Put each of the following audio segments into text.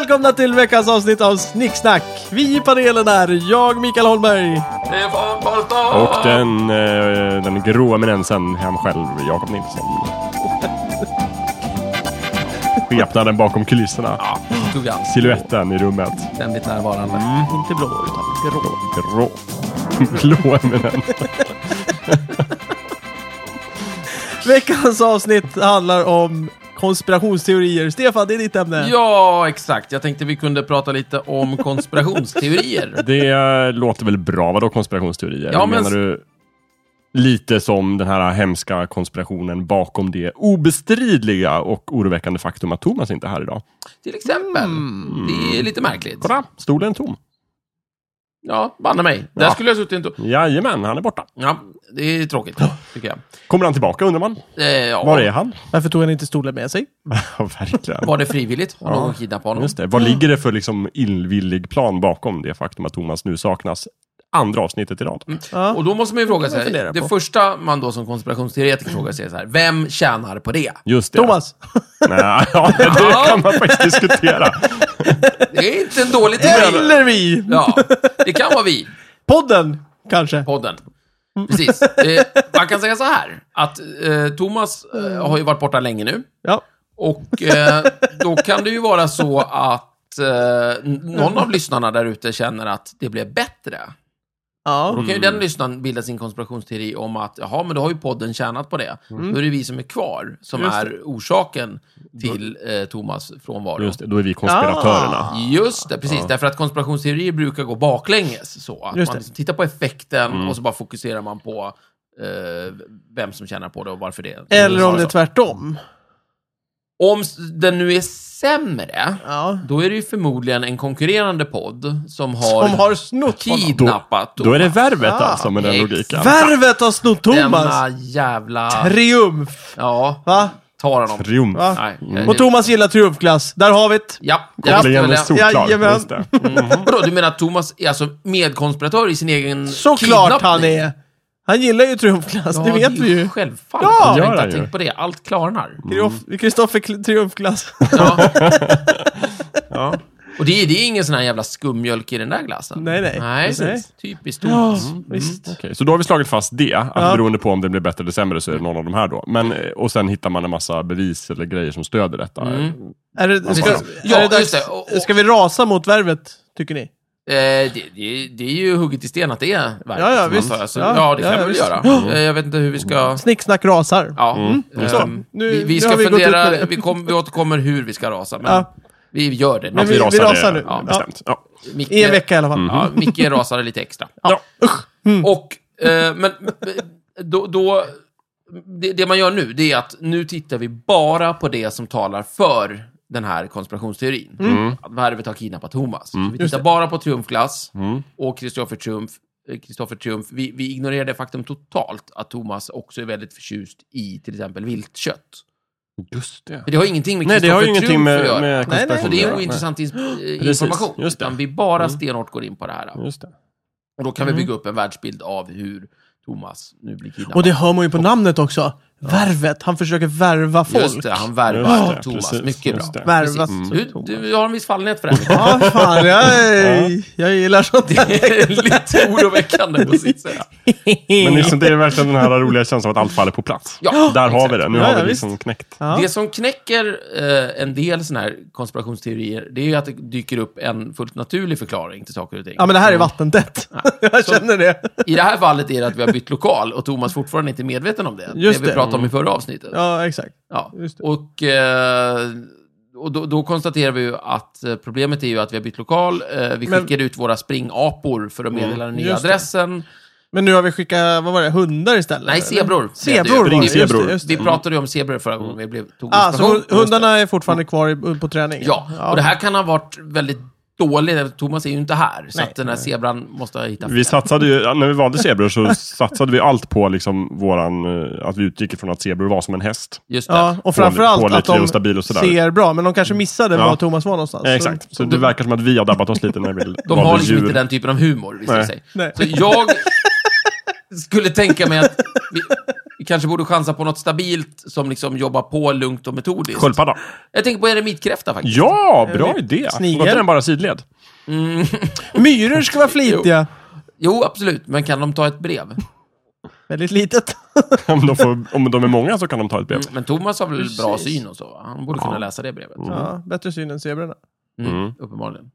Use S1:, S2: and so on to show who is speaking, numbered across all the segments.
S1: välkomna till veckans avsnitt av Snicksnack. Vi i panelen är jag, Mikael Holmberg.
S2: Stefan Balta!
S3: Och den, eh, den gråa eminensen, han själv, Jakob Nilsson. Skepnaden bakom kulisserna.
S1: Tog vi alls.
S3: Siluetten i rummet.
S1: Ständigt närvarande. Inte blå, utan grå.
S3: Grå. Blå eminent.
S1: Veckans avsnitt handlar om konspirationsteorier. Stefan, det är ditt ämne.
S2: Ja, exakt. Jag tänkte vi kunde prata lite om konspirationsteorier.
S3: Det eh, låter väl bra? Vadå konspirationsteorier?
S2: Ja, men-
S3: Menar du lite som den här hemska konspirationen bakom det obestridliga och oroväckande faktum att Thomas inte är här idag?
S2: Till exempel. Det är lite märkligt.
S3: Kolla, stolen är tom.
S2: Ja, banne mig. Där
S3: Ja.
S2: skulle jag suttit inte...
S3: Jajamän, han är borta.
S2: Ja, det är tråkigt, tycker jag.
S3: Kommer han tillbaka undrar man?
S2: Eh, ja.
S3: Var är han?
S1: Varför tog han inte stolen med sig?
S3: Ja, verkligen.
S2: Var det frivilligt? Har
S3: Ja,
S2: någon kidnappat honom?
S3: Just det. Vad ligger det för liksom illvillig plan bakom det faktum att Thomas nu saknas andra avsnittet i rad?
S1: Ja.
S2: Och då måste man ju fråga
S1: kan man
S2: sig,
S1: fundera
S2: det
S1: på.
S2: första man då som konspirationsteoretiker frågar sig är så här, vem tjänar på det?
S3: Just det.
S1: Thomas.
S3: Nej, ja, det kan man faktiskt diskutera.
S2: Det är inte en dålig teori.
S1: Eller vi!
S2: Ja, det kan vara vi.
S1: Podden, kanske.
S2: podden. Precis. Eh, man kan säga så här, att eh, Thomas eh, har ju varit borta länge nu.
S1: Ja.
S2: Och eh, då kan det ju vara så att eh, n- någon av lyssnarna där ute känner att det blev bättre. Då
S1: ja.
S2: kan ju den lyssnaren bilda sin konspirationsteori om att, jaha, men då har ju podden tjänat på det. Då är det vi som är kvar som
S1: Mm. Just det.
S2: är orsaken till eh, Thomas frånvaro.
S3: Just det, då är vi konspiratörerna.
S1: Ah.
S2: Just det, precis. Därför att konspirationsteorier brukar gå baklänges. Så
S1: Just
S2: att man
S1: det. Mm.
S2: liksom tittar på effekten och så bara fokuserar man på eh, vem som tjänar på det och varför det.
S1: Eller om det är
S2: Så.
S1: tvärtom.
S2: Om s- den nu är sämre,
S1: Ja.
S2: då är det ju förmodligen en konkurrerande podd som har,
S1: Som har snott honom.
S2: kidnappat
S3: Då är det
S2: Thomas.
S3: värvet
S1: Ah.
S3: alltså med den
S2: Exakt.
S3: logiken.
S1: Värvet har snott Thomas!
S2: Denna jävla...
S1: Triumf!
S2: Ja,
S1: Va?
S2: tar honom.
S3: Triumf.
S1: Va?
S2: Nej.
S1: Och Thomas gillar triumfglass. Där har vi det.
S2: Ja, jag visste väl
S3: Kopplingen är
S2: det.
S3: solklar.
S1: Jajamän.
S3: Just det.
S2: Vadå, du menar att Thomas är alltså medkonspiratör i sin egen
S1: Såklart
S2: kidnappning?
S1: han är! Han gillar ju triumfglass, det vet vi ju.
S2: Självfallet.
S1: Ja!
S2: jag
S3: Gör
S2: har inte
S3: han ju. Mm.
S2: tänkt på det. Allt klarnar.
S1: Kristoff- Kristoffer Kl- Triumfglass.
S2: Ja. ja. Och det, är- det är ingen sån här jävla skummjölk i den där glassen.
S1: Nej, nej.
S2: nej
S1: Precis.
S2: Typiskt Thomas.
S1: Visst.
S3: Okej, så då har vi slagit fast det, att
S1: Ja.
S3: beroende på om det blir bättre eller sämre så är det någon av de här då. Men, eh, och sen hittar man en massa bevis eller grejer som stöder detta.
S1: Är det, ska,
S2: Ja,
S1: är det dags,
S2: just det. Och- och-
S1: ska vi rasa mot värvet, tycker ni?
S2: Eh, det, det, det är ju hugget i sten att det är verkligt,
S1: Ja, ja,
S2: antar
S1: visst.
S2: jag. Så,
S1: Ja,
S2: ja, det
S1: ja,
S2: kan vi väl
S1: visst.
S2: göra. Eh, jag vet inte hur vi ska...
S1: Snicksnack rasar.
S2: Ja.
S1: Så,
S2: Ehm,
S1: nu-
S2: vi,
S1: nu
S2: vi ska
S1: har vi gått ut med det.
S2: fundera. Vi, kom, vi återkommer hur vi ska rasa, men
S1: Ja.
S2: vi gör det.
S1: Men
S3: Vi,
S1: Vi- vi
S3: rasar,
S1: rasar nu.
S3: det, ja,
S1: Ja.
S3: bestämt. Ja.
S2: Micke-
S1: I en vecka Mm. i alla fall.
S2: Ja, Micke rasade lite extra.
S3: Ja.
S2: Och, eh, men eh, då, då det, det man gör nu, det är att nu tittar vi bara på det som talar för den här konspirationsteorin.
S1: Mm.
S3: Mm.
S2: Att värvet har kidnappat Thomas. Så vi tittar bara på Triumfglass
S3: Mm.
S2: och Kristoffer Triumf. eh, Kristoffer Triumf. Vi, vi ignorerar det faktum totalt att Thomas också är väldigt förtjust i till exempel viltkött.
S3: Just det.
S2: För det har ingenting med
S3: Nej, det har ju
S2: Kristoffer
S3: ingenting
S2: Triumf att
S3: med,
S2: göra.
S3: med
S1: nej.
S3: konspiration
S2: så
S3: att
S2: det är
S3: göra.
S2: ointressant ins- eh,
S3: Precis,
S2: information.
S3: just det. Mm.
S2: Utan vi bara stenhårt går in på det här.
S3: Nej, Just det.
S2: Och då kan
S3: Mm.
S2: vi bygga upp en världsbild av hur Thomas nu blir kidnappad.
S1: Och det hör man ju på namnet också. Värvet. Han försöker värva
S2: Just
S1: folk.
S2: det, han värvar
S3: Just det,
S2: Thomas.
S3: precis,
S2: Mycket
S3: just
S2: bra.
S3: det.
S1: Värvat.
S2: Precis.
S1: Mm.
S2: Du, du har en viss fallenhet för det här.
S1: Ja, fan. Jag, jag gillar sånt där.
S2: Det är lite oroväckande på sitt sätt.
S3: Men liksom, det är verkligen den här roliga känslan av att allt faller på plats.
S2: Ja,
S3: Där har
S2: exakt.
S3: vi det. Nu
S1: Ja,
S3: har
S1: ja,
S3: vi liksom knäckt.
S1: Ja.
S2: Det som knäcker eh, en del sådana här konspirationsteorier, det är ju att det dyker upp en fullt naturlig förklaring till saker och ting. Mm.
S1: Ja, men det här är vattentätt. Jag känner det.
S2: I det här fallet är det att vi har bytt lokal och Thomas fortfarande inte är medveten om det.
S1: Just
S2: det vi
S1: det. Mm.
S2: pratade om i förra avsnittet.
S1: Ja, exakt.
S2: Ja.
S1: Just det.
S2: Och, eh, och då, då konstaterar vi ju att eh, problemet är ju att vi har bytt lokal. Eh, vi
S1: Men- Mm.
S2: skickade ut våra springapor för att meddela den nya
S1: just det.
S2: adressen.
S1: Men nu har vi skickat, vad var det, hundar istället?
S2: Nej,
S1: eller?
S2: zebror.
S1: Zebror var det, just det,
S3: Springzebror.
S1: just
S2: Vi
S1: det.
S2: pratade ju om zebror förra gången vi blev, tog
S1: Ah, så
S2: inspiration.
S1: hund- hundarna är fortfarande kvar i- på träning?
S2: Ja, och det här kan ha varit väldigt dåligt. Thomas är ju inte här, så
S1: Nej.
S2: att den här zebran måste ha hittat
S3: Vi satsade ju, ja, när vi valde zebror så satsade vi allt på liksom våran, eh, att vi utgick ifrån att zebror var som en häst.
S2: Just det.
S1: Ja, och framförallt att
S3: pålitlig
S1: de
S3: och stabil och sådär. Mm.
S1: ser bra, men de kanske missade
S3: Ja.
S1: var Thomas var någonstans.
S3: Eh, exakt. Så det verkar som att vi har dabbat oss lite när vi
S2: De
S3: valde
S2: har liksom
S3: djur.
S2: inte den typen av humor, visar det
S3: Nej.
S2: sig.
S1: Nej.
S2: Så jag skulle tänka mig att vi, Vi kanske borde chansa på något stabilt som liksom jobbar på lugnt och metodiskt.
S3: Sköldpadda.
S2: Jag tänker på eremitkräfta faktiskt.
S3: Ja, bra idé.
S1: Snigel.
S3: Var inte den bara sidled?
S1: Myror ska vara flitiga.
S2: Jo, absolut. Men kan de ta ett brev?
S1: Väldigt litet.
S3: Om de, får, om de är många så kan de ta ett brev.
S2: Men Thomas har väl bra
S1: Precis.
S2: syn och så? va? Han borde kunna läsa det brevet.
S1: Ja, bättre syn än zebrorna.
S2: Mm,
S3: Mm.
S2: Uppenbarligen.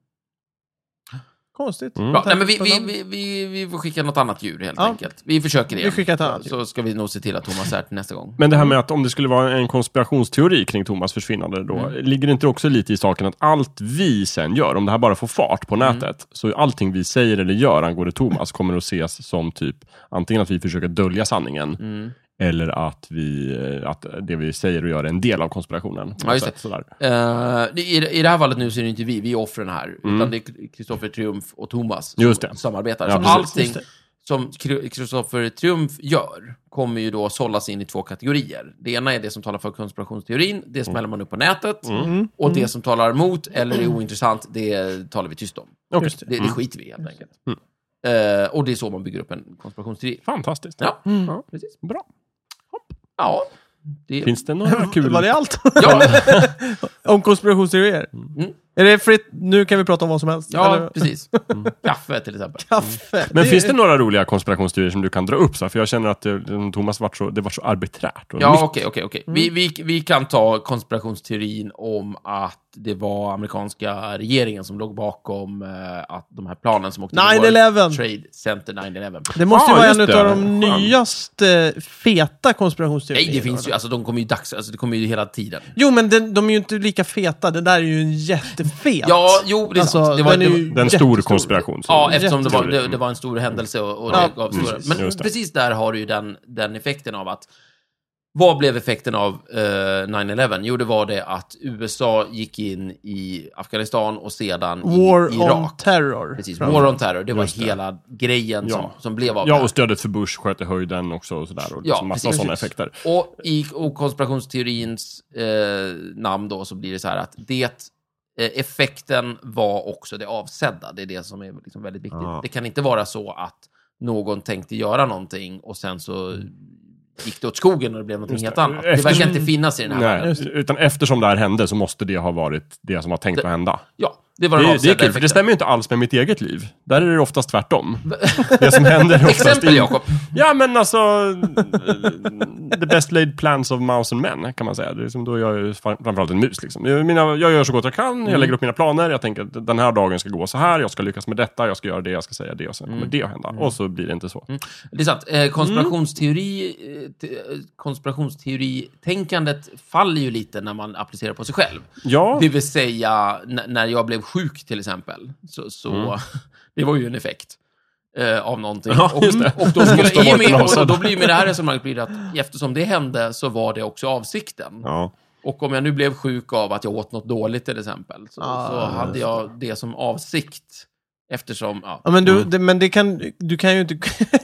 S1: Konstigt.
S3: Mm.
S2: Bra. Nej, men vi, vi, vi, vi, vi får skicka något annat djur helt
S1: Ja.
S2: enkelt. Vi försöker det.
S1: Vi skickar ett annat djur.
S2: Så ska vi nog se till att Thomas är till nästa gång.
S3: Men det här med att om det skulle vara en konspirationsteori kring Thomas försvinnande då, ligger det inte också lite i saken att allt vi sen gör, om det här bara får fart på nätet, så allting vi säger eller gör angående Thomas kommer att ses som typ antingen att vi försöker dölja sanningen, eller att, vi, eh, att det vi säger och gör är en del av konspirationen. på
S2: Ja,
S3: något
S2: just
S3: sätt,
S2: det.
S3: Sådär.
S2: Eh, i, I det här fallet nu så är det inte vi, vi är offren här. Utan det är Kristoffer Triumf och Thomas som
S3: Mm. Just det.
S2: samarbetar.
S3: Ja,
S2: så
S3: precis.
S2: allting
S1: Just det.
S2: som Kristoffer Triumf gör kommer ju då sållas in i två kategorier. Det ena är det som talar för konspirationsteorin, det smäller man upp på nätet.
S3: Mm.
S1: Mm.
S2: Och det som talar emot eller är ointressant, det talar vi tyst om.
S3: Okej.
S1: Just det.
S2: Det, det skiter vi i helt enkelt.
S3: Mm.
S2: Eh, och det är så man bygger upp en konspirationsteori.
S3: Fantastiskt.
S2: Ja,
S1: Mm.
S3: Ja,
S2: precis.
S3: Bra.
S2: Ja, det...
S3: Finns det några kul...
S1: Var det allt?
S2: Ja,
S1: om konspirationsteorier? Är det fritt? Nu kan vi prata om vad som helst.
S2: Mm. ja
S1: Eller- Mm.
S2: precis. Kaffe till exempel.
S1: Kaffe.
S3: Men
S1: Det-
S3: finns det några roliga konspirationsteorier som du kan dra upp? Så här? För jag känner att det, Thomas vart så, det var så arbiträrt. Och
S2: Ja, okej, okej, okej.
S1: Mm.
S2: Vi, vi, vi kan ta konspirationsteorin om att det var amerikanska regeringen som låg bakom eh, att de här planen som åkte till
S1: 9/11.
S2: World Trade Center 9-11.
S1: Det måste ju
S3: Ja,
S1: vara
S3: just
S1: en
S3: det.
S1: av de
S3: Skönt.
S1: nyaste feta konspirationsteorierna.
S2: Nej, det finns ju, alltså de kommer ju dags, alltså det kommer ju hela tiden.
S1: Jo, men den, de är ju inte lika feta. Den där är ju en jättefet. Alltså,
S2: Ja, jo, det är sant. Det var-
S1: den är
S2: det var-
S1: ju
S3: Den stor
S1: jättestor.
S3: konspiration. som-
S2: Ja, eftersom det var,
S3: Jätteroligt.
S2: det, det var en stor händelse och, och
S1: Ja,
S2: det gav stora.
S3: precis.
S2: Men
S3: Just det.
S2: precis där har du ju den, den effekten av att vad blev effekten av eh, 9-11? Jo, det var det att USA gick in i Afghanistan och sedan
S1: War
S2: i Irak.
S1: on terror.
S2: Precis,
S1: Framför-
S2: War on Terror, det var
S3: Just det.
S2: hela grejen
S3: Ja.
S2: som, som blev av det
S3: Ja,
S2: här.
S3: och stödet för Bush sköt i höjden också och sådär. Och
S2: Ja,
S3: liksom massa
S2: precis.
S3: sådana effekter.
S2: Och i och konspirationsteorins eh, namn då så blir det så här att det eh, effekten var också det avsedda. Det är det som är liksom väldigt viktigt.
S3: Ja.
S2: Det kan inte vara så att någon tänkte göra någonting och sen så gick det åt skogen och det blev någonting
S3: Just
S2: helt
S3: det. Mm.
S2: annat. Det
S3: Eftersom-
S2: verkar inte finnas i den här världen.
S3: Nej, utan eftersom det här hände så måste det ha varit det som var tänkt
S2: Det-
S3: att hända.
S2: Ja, det var
S3: Det,
S2: den
S3: är- det
S2: avsedda
S3: är kul, för
S2: effekten.
S3: det stämmer ju inte alls med mitt eget liv. Där är det oftast tvärtom. Det som händer är oftast...
S2: Exempel,
S3: in-
S2: Jakob.
S3: Ja, men alltså... eh, The best laid plans of mouse and men, kan man säga. Det är som då jag är fram- framförallt en mus. Liksom. Jag, mina, jag gör så gott jag kan,
S2: Mm.
S3: jag lägger upp mina planer, jag tänker att den här dagen ska gå så här, jag ska lyckas med detta, jag ska göra det, jag ska säga det och sen
S2: Mm.
S3: kommer det att hända. Och så blir det inte så.
S2: Det är sant. Eh, konspirationsteori, eh, te, eh, konspirationsteoritänkandet faller ju lite när man applicerar på sig själv.
S3: Ja,
S2: Det vill säga, n- när jag blev sjuk till exempel, så, så det var ju en effekt eh, av någonting.
S3: Mm. Ja,
S2: och,
S3: just det.
S2: och då, skulle,
S3: Måste ha
S2: i och
S3: varit
S2: med,
S3: en
S2: och då,
S3: avsedd.
S2: då blir med det här resonemanget blir det att eftersom det hände så var det också avsikten.
S3: ja.
S2: Och om jag nu blev sjuk av att jag åt något dåligt till exempel, så,
S1: Ah,
S2: så hade jag det som avsikt. Eftersom, ja.
S1: Ja, men du, det, men det kan, du kan ju inte...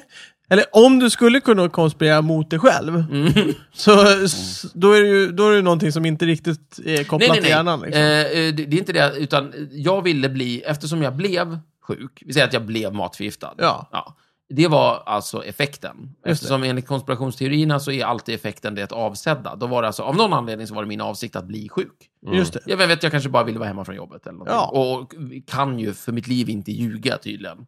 S1: Eller om du skulle kunna konspirera mot dig själv,
S2: Mm.
S1: så, s- då är det ju då är det ju någonting som inte riktigt är kopplat
S2: Nej, nej,
S1: till
S2: nej.
S1: hjärnan. Liksom.
S2: Eh, eh, det, det är inte det, utan jag ville bli, eftersom jag blev sjuk, vi säger att jag blev matförgiftad.
S1: Ja.
S2: Det var alltså effekten.
S1: det.
S2: Eftersom enligt konspirationsteorierna så är alltid effekten det avsedda. Då var det alltså, av någon anledning så var det min avsikt att bli sjuk.
S1: Just det.
S2: Jag vet, jag kanske bara ville vara hemma från jobbet eller
S1: Ja.
S2: ja. Och kan ju för mitt liv inte ljuga tydligen.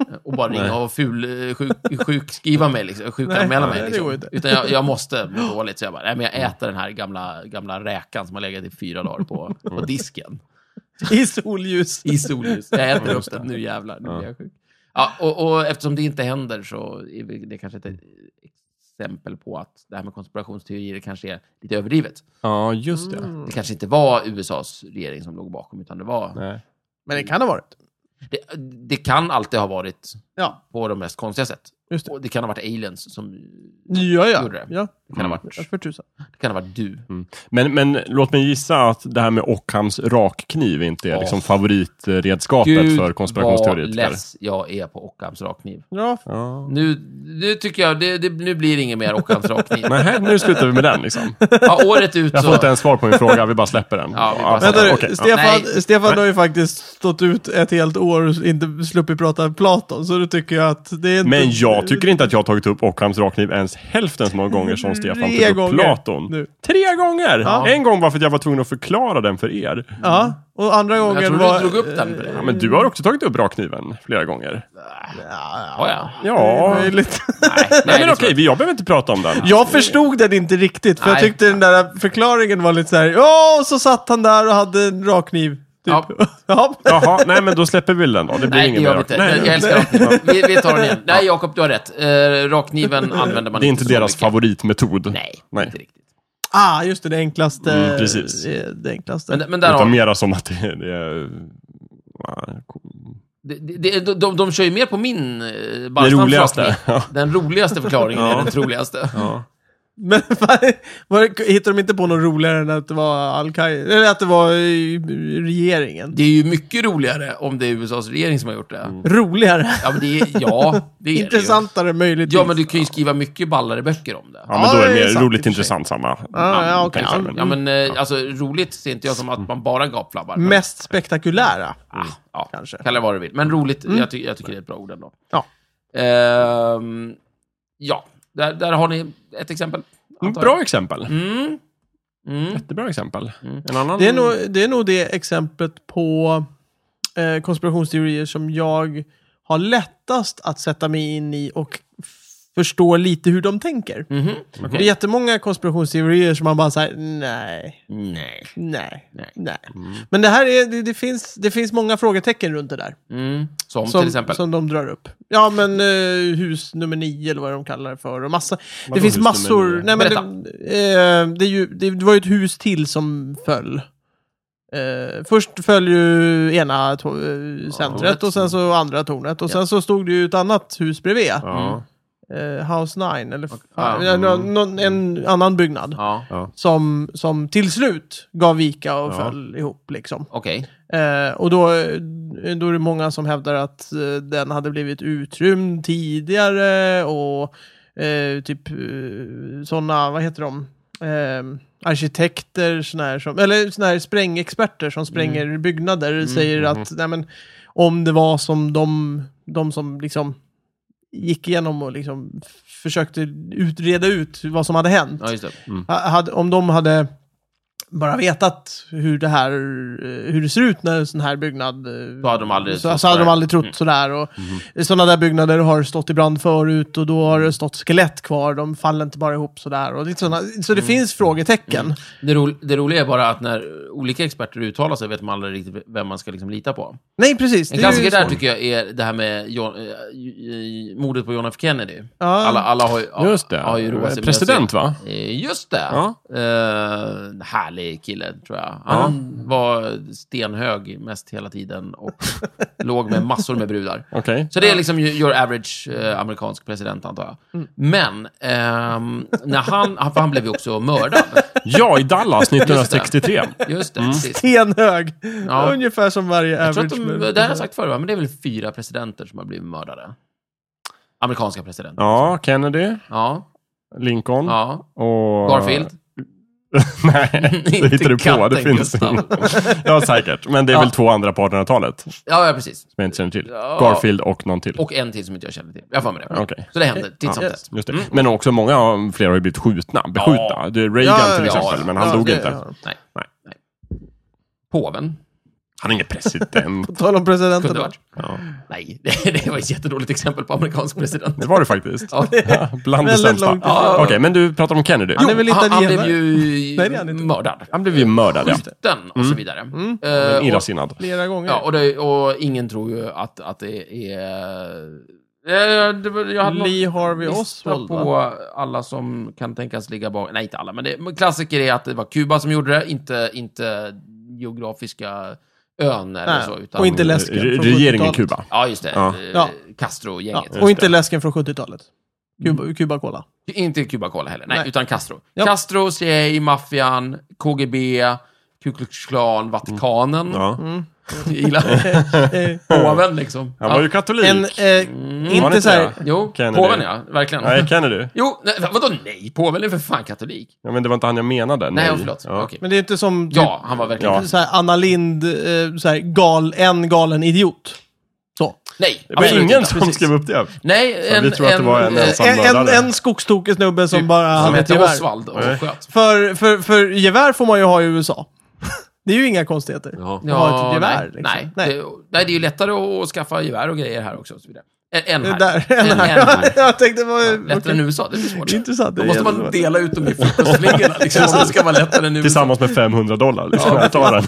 S2: Eh, Och bara ringa och ful, eh, sjuk, sjukskriva mig, liksom, sjukanmäla
S1: Nej,
S2: mig.
S1: det
S2: Liksom.
S1: går inte.
S2: Utan jag, jag måste må dåligt, så jag bara, nej men jag äter den här gamla, gamla räkan som har legat i fyra dagar på, på disken.
S1: I solljus.
S2: I solljus. Jag äter upp den, nu jävlar, nu blir jag sjuk. Ja, och, och eftersom det inte händer så är vi- det kanske ett exempel på att det här med konspirationsteorier kanske är lite överdrivet.
S3: ja, just det.
S1: Mm.
S2: Det kanske inte var USAs regering som låg bakom, utan det var
S3: Nej.
S1: Men det kan ha varit.
S2: Det, det kan alltid ha varit
S1: Ja,
S2: på de mest konstiga sätt.
S1: just det.
S2: Och det kan ha varit aliens som...
S1: Ja,
S2: Gjorde
S1: ja.
S2: det.
S1: ja.
S2: Det kan ha
S3: Mm.
S2: varit,
S1: Ja, För tusan.
S2: det kan ha varit du.
S3: Men, men låt mig gissa att det här med Ockhams rakkniv inte är
S2: Åh.
S3: liksom favoritredskapet för
S2: vad
S3: konspirationsteoretiker.
S2: less jag är på Ockhams rakkniv.
S1: Ja,
S3: Ja.
S2: Nu, nu tycker jag, det, det, nu blir det inget mer Ockhams rakkniv.
S3: Nej, nu slutar vi med den liksom.
S2: Ja, året ut
S3: Jag får
S2: så...
S3: inte ens svar på min fråga, vi bara släpper den.
S2: Ja, vi bara släpper
S1: Vänta
S2: Alltså,
S1: nu,
S3: okej.
S1: Stefan,
S2: Nej.
S1: Stefan har ju faktiskt stått ut ett helt år och inte sluppit prata Platon, så du tycker jag att det är inte...
S3: Men jag tycker inte att jag har tagit upp Ockhams rakkniv ens hälften så många gånger som Stefan
S1: Tre
S3: tog upp
S1: gånger
S3: Platon.
S1: nu.
S3: Tre gånger! En gång var för att jag var tvungen att förklara den för er.
S1: Ja, och andra
S2: Jag
S1: gången
S2: tror
S1: var...
S2: du drog upp den.
S3: Ja, men du har också tagit upp rakkniven flera gånger.
S2: Ja, ja.
S3: Ja.
S1: Det är lite-
S2: Nej,
S3: Nej,
S2: det
S3: men
S2: är
S3: okej, vi- jag behöver inte prata om den.
S1: Jag förstod den inte riktigt, för jag
S2: Nej.
S1: tyckte den där förklaringen var lite så här. Ja, och så satt han där och hade en rakkniv. Typ.
S2: Ja.
S1: Ja. ja.
S3: Jaha, nej men då släpper vi den då. Det blir
S2: Nej, det
S3: ingen
S2: gör
S3: mer
S2: vi
S3: rak-
S2: inte.
S3: Nej,
S2: jag,
S3: nej.
S2: jag älskar rakkniven. vi, vi tar den igen. Nej, Jakob, du har rätt. Eh, rakkniven använder man
S3: Det är inte
S2: så
S3: deras
S2: mycket.
S3: favoritmetod.
S2: Nej,
S3: Nej.
S2: inte riktigt.
S1: Ah, just det, det enklaste.
S3: Mm, precis.
S1: eh, Det enklaste.
S2: Men, men där har
S3: Utan
S2: vi.
S3: mera som att det, det är... Ja, cool.
S2: Det, det, de, de, de kör ju mer på min eh,
S3: Det
S2: Barstams
S3: roligaste.
S2: rakkniv.
S3: Ja.
S2: Den roligaste förklaringen är
S3: Ja.
S2: den troligaste.
S1: Men vad- vad- hittade de inte på något roligare än att det var Al-Qaida? Eller att det var eh, regeringen?
S2: Det är ju mycket roligare om det är USAs regering som har gjort det.
S3: Mm.
S1: Roligare?
S2: Ja, men det är, ja, det är det ju.
S1: Intressantare möjligtvis.
S2: Ja, men du kan ju skriva mycket ballare böcker om det.
S3: Ja, men då är
S1: Ja,
S3: det
S1: det är
S3: mer
S1: sant, i och
S3: roligt
S1: för sig.
S3: intressant samma.
S1: ja,
S3: namn,
S1: okej.
S3: tänker jag,
S2: Ja,
S3: men-
S2: men eh, alltså, roligt ser inte jag som
S3: Mm.
S2: att man bara gapflabbar. Men,
S1: Mest spektakulära.
S2: ah, ja,
S1: Kanske.
S2: Kalla det vad du vill. Men roligt, jag, ty jag tycker det är ett bra ord ändå.
S1: Mm. Ja.
S2: Ehm, ja, där, där har ni ett exempel.
S3: Mm,
S2: antar jag.
S3: Bra exempel.
S2: Mm. Mm.
S3: Jättebra exempel. En annan...
S1: Det är, nog, det är nog det exemplet på eh, konspirationsteorier som jag har lättast att sätta mig in i och f- förstå lite hur de tänker.
S2: Mhm.
S1: Det är jättemånga konspirationsteorier som man bara säger nej,
S2: Nej.
S1: nej,
S2: Nej. Mm.
S1: nej. Men det här är, det, det, finns, det finns många frågetecken runt det där.
S2: Mm. Som, till
S1: Som,
S2: exempel.
S1: som de drar upp. Ja, men eh, hus nummer nio eller vad de kallar det för. Och massa, det
S3: Vadå
S1: finns
S3: hus nummer
S1: massor.
S3: nio?
S1: Nej, men det, eh, det, är ju, det, det var ju ett hus till som föll. Eh, först föll ju ena to- eh, centret
S2: tornet.
S1: och sen så andra tornet. Och sen så stod det ju ett annat hus bredvid.
S2: Mm.
S3: Ja.
S1: Eh, House 9, eller
S2: Ah,
S1: fan, ja, någon, en annan byggnad.
S2: Ja,
S1: Som, som till slut gav vika och
S3: Ja.
S1: föll ihop. Liksom.
S2: okej.
S1: Eh, och då, då är det många som hävdar att eh, den hade blivit utrymd tidigare och eh, typ eh, sådana, vad heter de? Eh, arkitekter, såna här som, eller såna här sprängexperter som spränger byggnader säger att nej, men, om det var som de, de som liksom gick igenom och liksom försökte utreda ut vad som hade hänt.
S2: Ja, just det.
S1: Ha- Hade, om de hade bara vetat hur det här, eh, hur det ser ut när en sån här byggnad... eh,
S2: Då hade de aldrig
S1: så,
S2: trott Mm.
S1: så hade de
S2: sådär.
S1: aldrig trott sådär. Och
S2: Mm-hmm.
S1: Sådana där byggnader har stått i brand förut och då har det stått skelett kvar. De faller inte bara ihop sådär. Och lite såna, så
S2: Mm.
S1: det finns frågetecken.
S2: Det, ro det roliga är bara att när olika experter uttalar sig vet man aldrig riktigt vem man ska liksom lita på.
S1: Nej, precis. det är
S2: En
S1: ju-
S2: klassiker där tycker jag är det här med John, eh, i- i- mordet på John F Kennedy.
S1: Ja.
S2: Alla, alla har ju, ja,
S3: Just det. Eh,
S2: har ju roat sig med
S3: President, va?
S2: att se- Eh, Just det.
S3: Ja.
S2: Eh, en härlig kille, tror jag. Han var stenhög mest hela tiden och låg med massor med brudar.
S3: Okej.
S2: Så det är liksom ju- your average eh, amerikansk president, antar
S3: Mm.
S2: jag. Men, ehm, när han, han, för han blev ju också mördad.
S3: Ja, i Dallas 1963.
S2: Just
S3: Mm.
S2: det, precis.
S1: Stenhög.
S2: Ja.
S1: Ungefär som varje
S2: Jag tror att
S1: average.
S2: de,
S1: men-
S2: det här har jag sagt förr, va? men det är väl fyra presidenter som har blivit mördade? Amerikanska presidenter.
S3: Ja, Kennedy,
S2: Ja.
S3: Lincoln
S2: ja.
S3: och...
S2: Garfield.
S3: Nej, det hittar du på. Det
S2: katten
S3: finns
S2: Gustav.
S3: inte. Ja, säkert. Men det är
S2: Ja.
S3: väl två andra på 1800-talet som
S2: Ja, ja, precis.
S3: jag inte känner till.
S2: Ja.
S3: Garfield och någon till.
S2: Och en till som inte jag känner till. Jag får med det.
S3: Okej.
S2: Så det händer titt som
S1: Ja.
S2: tätt.
S3: Just det. Men också många, av- flera har ju blivit skjutna, beskjutna. Det är Reagan
S1: Ja,
S3: till
S1: ja,
S3: exempel,
S2: ja.
S3: men han
S1: Ja,
S3: dog
S1: det-
S3: inte.
S1: ja.
S2: Nej.
S3: Nej.
S2: Nej. Påven
S3: Han är ingen president.
S1: På tal om
S2: kunde
S1: presidenten.
S2: det varit.
S3: ja.
S2: Nej, det, det var ett jättedåligt exempel på amerikansk president.
S3: Det var det faktiskt.
S2: Ja.
S3: Bland det
S1: Väldigt
S3: sämsta.
S1: långt
S2: ifrån.
S3: Okej, men du pratar om Kennedy.
S1: Han är väl
S2: Jo, han, han blev
S1: italienare?
S2: ju
S1: Nej, det är han inte.
S2: mördad.
S3: Han blev ju mördad, ja.
S2: Den och så vidare. Mm.
S3: Men Illasinnad.
S1: Flera gånger.
S2: Ja, och, det, och ingen tror ju att, att det är... Eh, det var- Jag hade någon
S1: Lee Harvey
S2: lista
S1: Oswald,
S2: på alla som kan tänkas ligga bakom. Nej, inte alla, men, det, men klassiker är att det var Kuba som gjorde det, inte, inte geografiska ön eller
S1: Nej,
S2: så. Utan,
S1: och inte läsken.
S3: Eh, Re-
S1: från
S3: Regeringen
S1: 70-talet.
S3: Kuba.
S2: Ja, just det.
S3: Ja.
S2: Eh,
S1: Ja.
S2: Castro-gänget.
S1: Ja, och inte läsken från 70-talet.
S2: Mm.
S1: Cuba, Cuba Cola.
S2: Inte Kuba Cola heller, nej,
S1: Nej.
S2: utan Castro.
S1: Ja.
S2: Castro, CIA, maffian, KGB, Ku Klux Klan, Vatikanen.
S3: Ja.
S2: Jag gillar
S1: Eh,
S2: påven liksom.
S3: Han var
S2: Ja.
S3: ju katolik.
S1: En, eh,
S3: Var
S1: inte
S3: det
S1: så här,
S3: det?
S2: Jo,
S3: Kennedy.
S2: påven ja, verkligen.
S3: Nej, Kennedy.
S2: Jo, nej, vadå nej? Påven är för fan katolik.
S3: Ja, men det var inte han jag menade.
S2: Nej, förlåt.
S3: Ja.
S2: Okej.
S1: men det är inte som typ,
S2: Ja, han var verkligen...
S3: Ja.
S1: så här, Anna Lind, eh, så här, gal, en galen idiot. Så.
S2: Nej,
S3: Det var
S2: absolut
S3: ingen
S2: inte.
S3: som
S1: Precis.
S3: skrev upp det.
S2: Nej,
S3: Så vi tror att det var en
S2: eh,
S3: ensam-
S1: En, en,
S3: mördare.
S1: en skogstokig snubbe som
S2: Typ,
S1: bara
S2: som
S1: hade ett
S2: hette
S1: gevär.
S2: Osvald och
S3: Nej.
S2: sköt.
S1: För, för, för gevär får man ju ha i USA. Det är ju inga konstigheter.
S4: Ja.
S1: Ja, ha
S3: typ
S1: ett gevär,
S2: nej,
S1: liksom.
S2: nej.
S1: Nej.
S2: Det, nej, det är ju lättare att skaffa gevär och grejer här också. Och så vidare. En, en
S1: Det
S2: här.
S1: där, en här.
S2: En här.
S1: Jag tänkte, vad...
S2: Lättare
S1: okej.
S2: än USA, det blir svårt.
S1: Intressant.
S4: Då
S1: Det är
S4: måste man
S1: jättebra.
S4: dela ut dem i frukostflingorna. Liksom, om det ska vara lättare än nu.
S3: Tillsammans med 500 dollar. Liksom. Ja, ta den.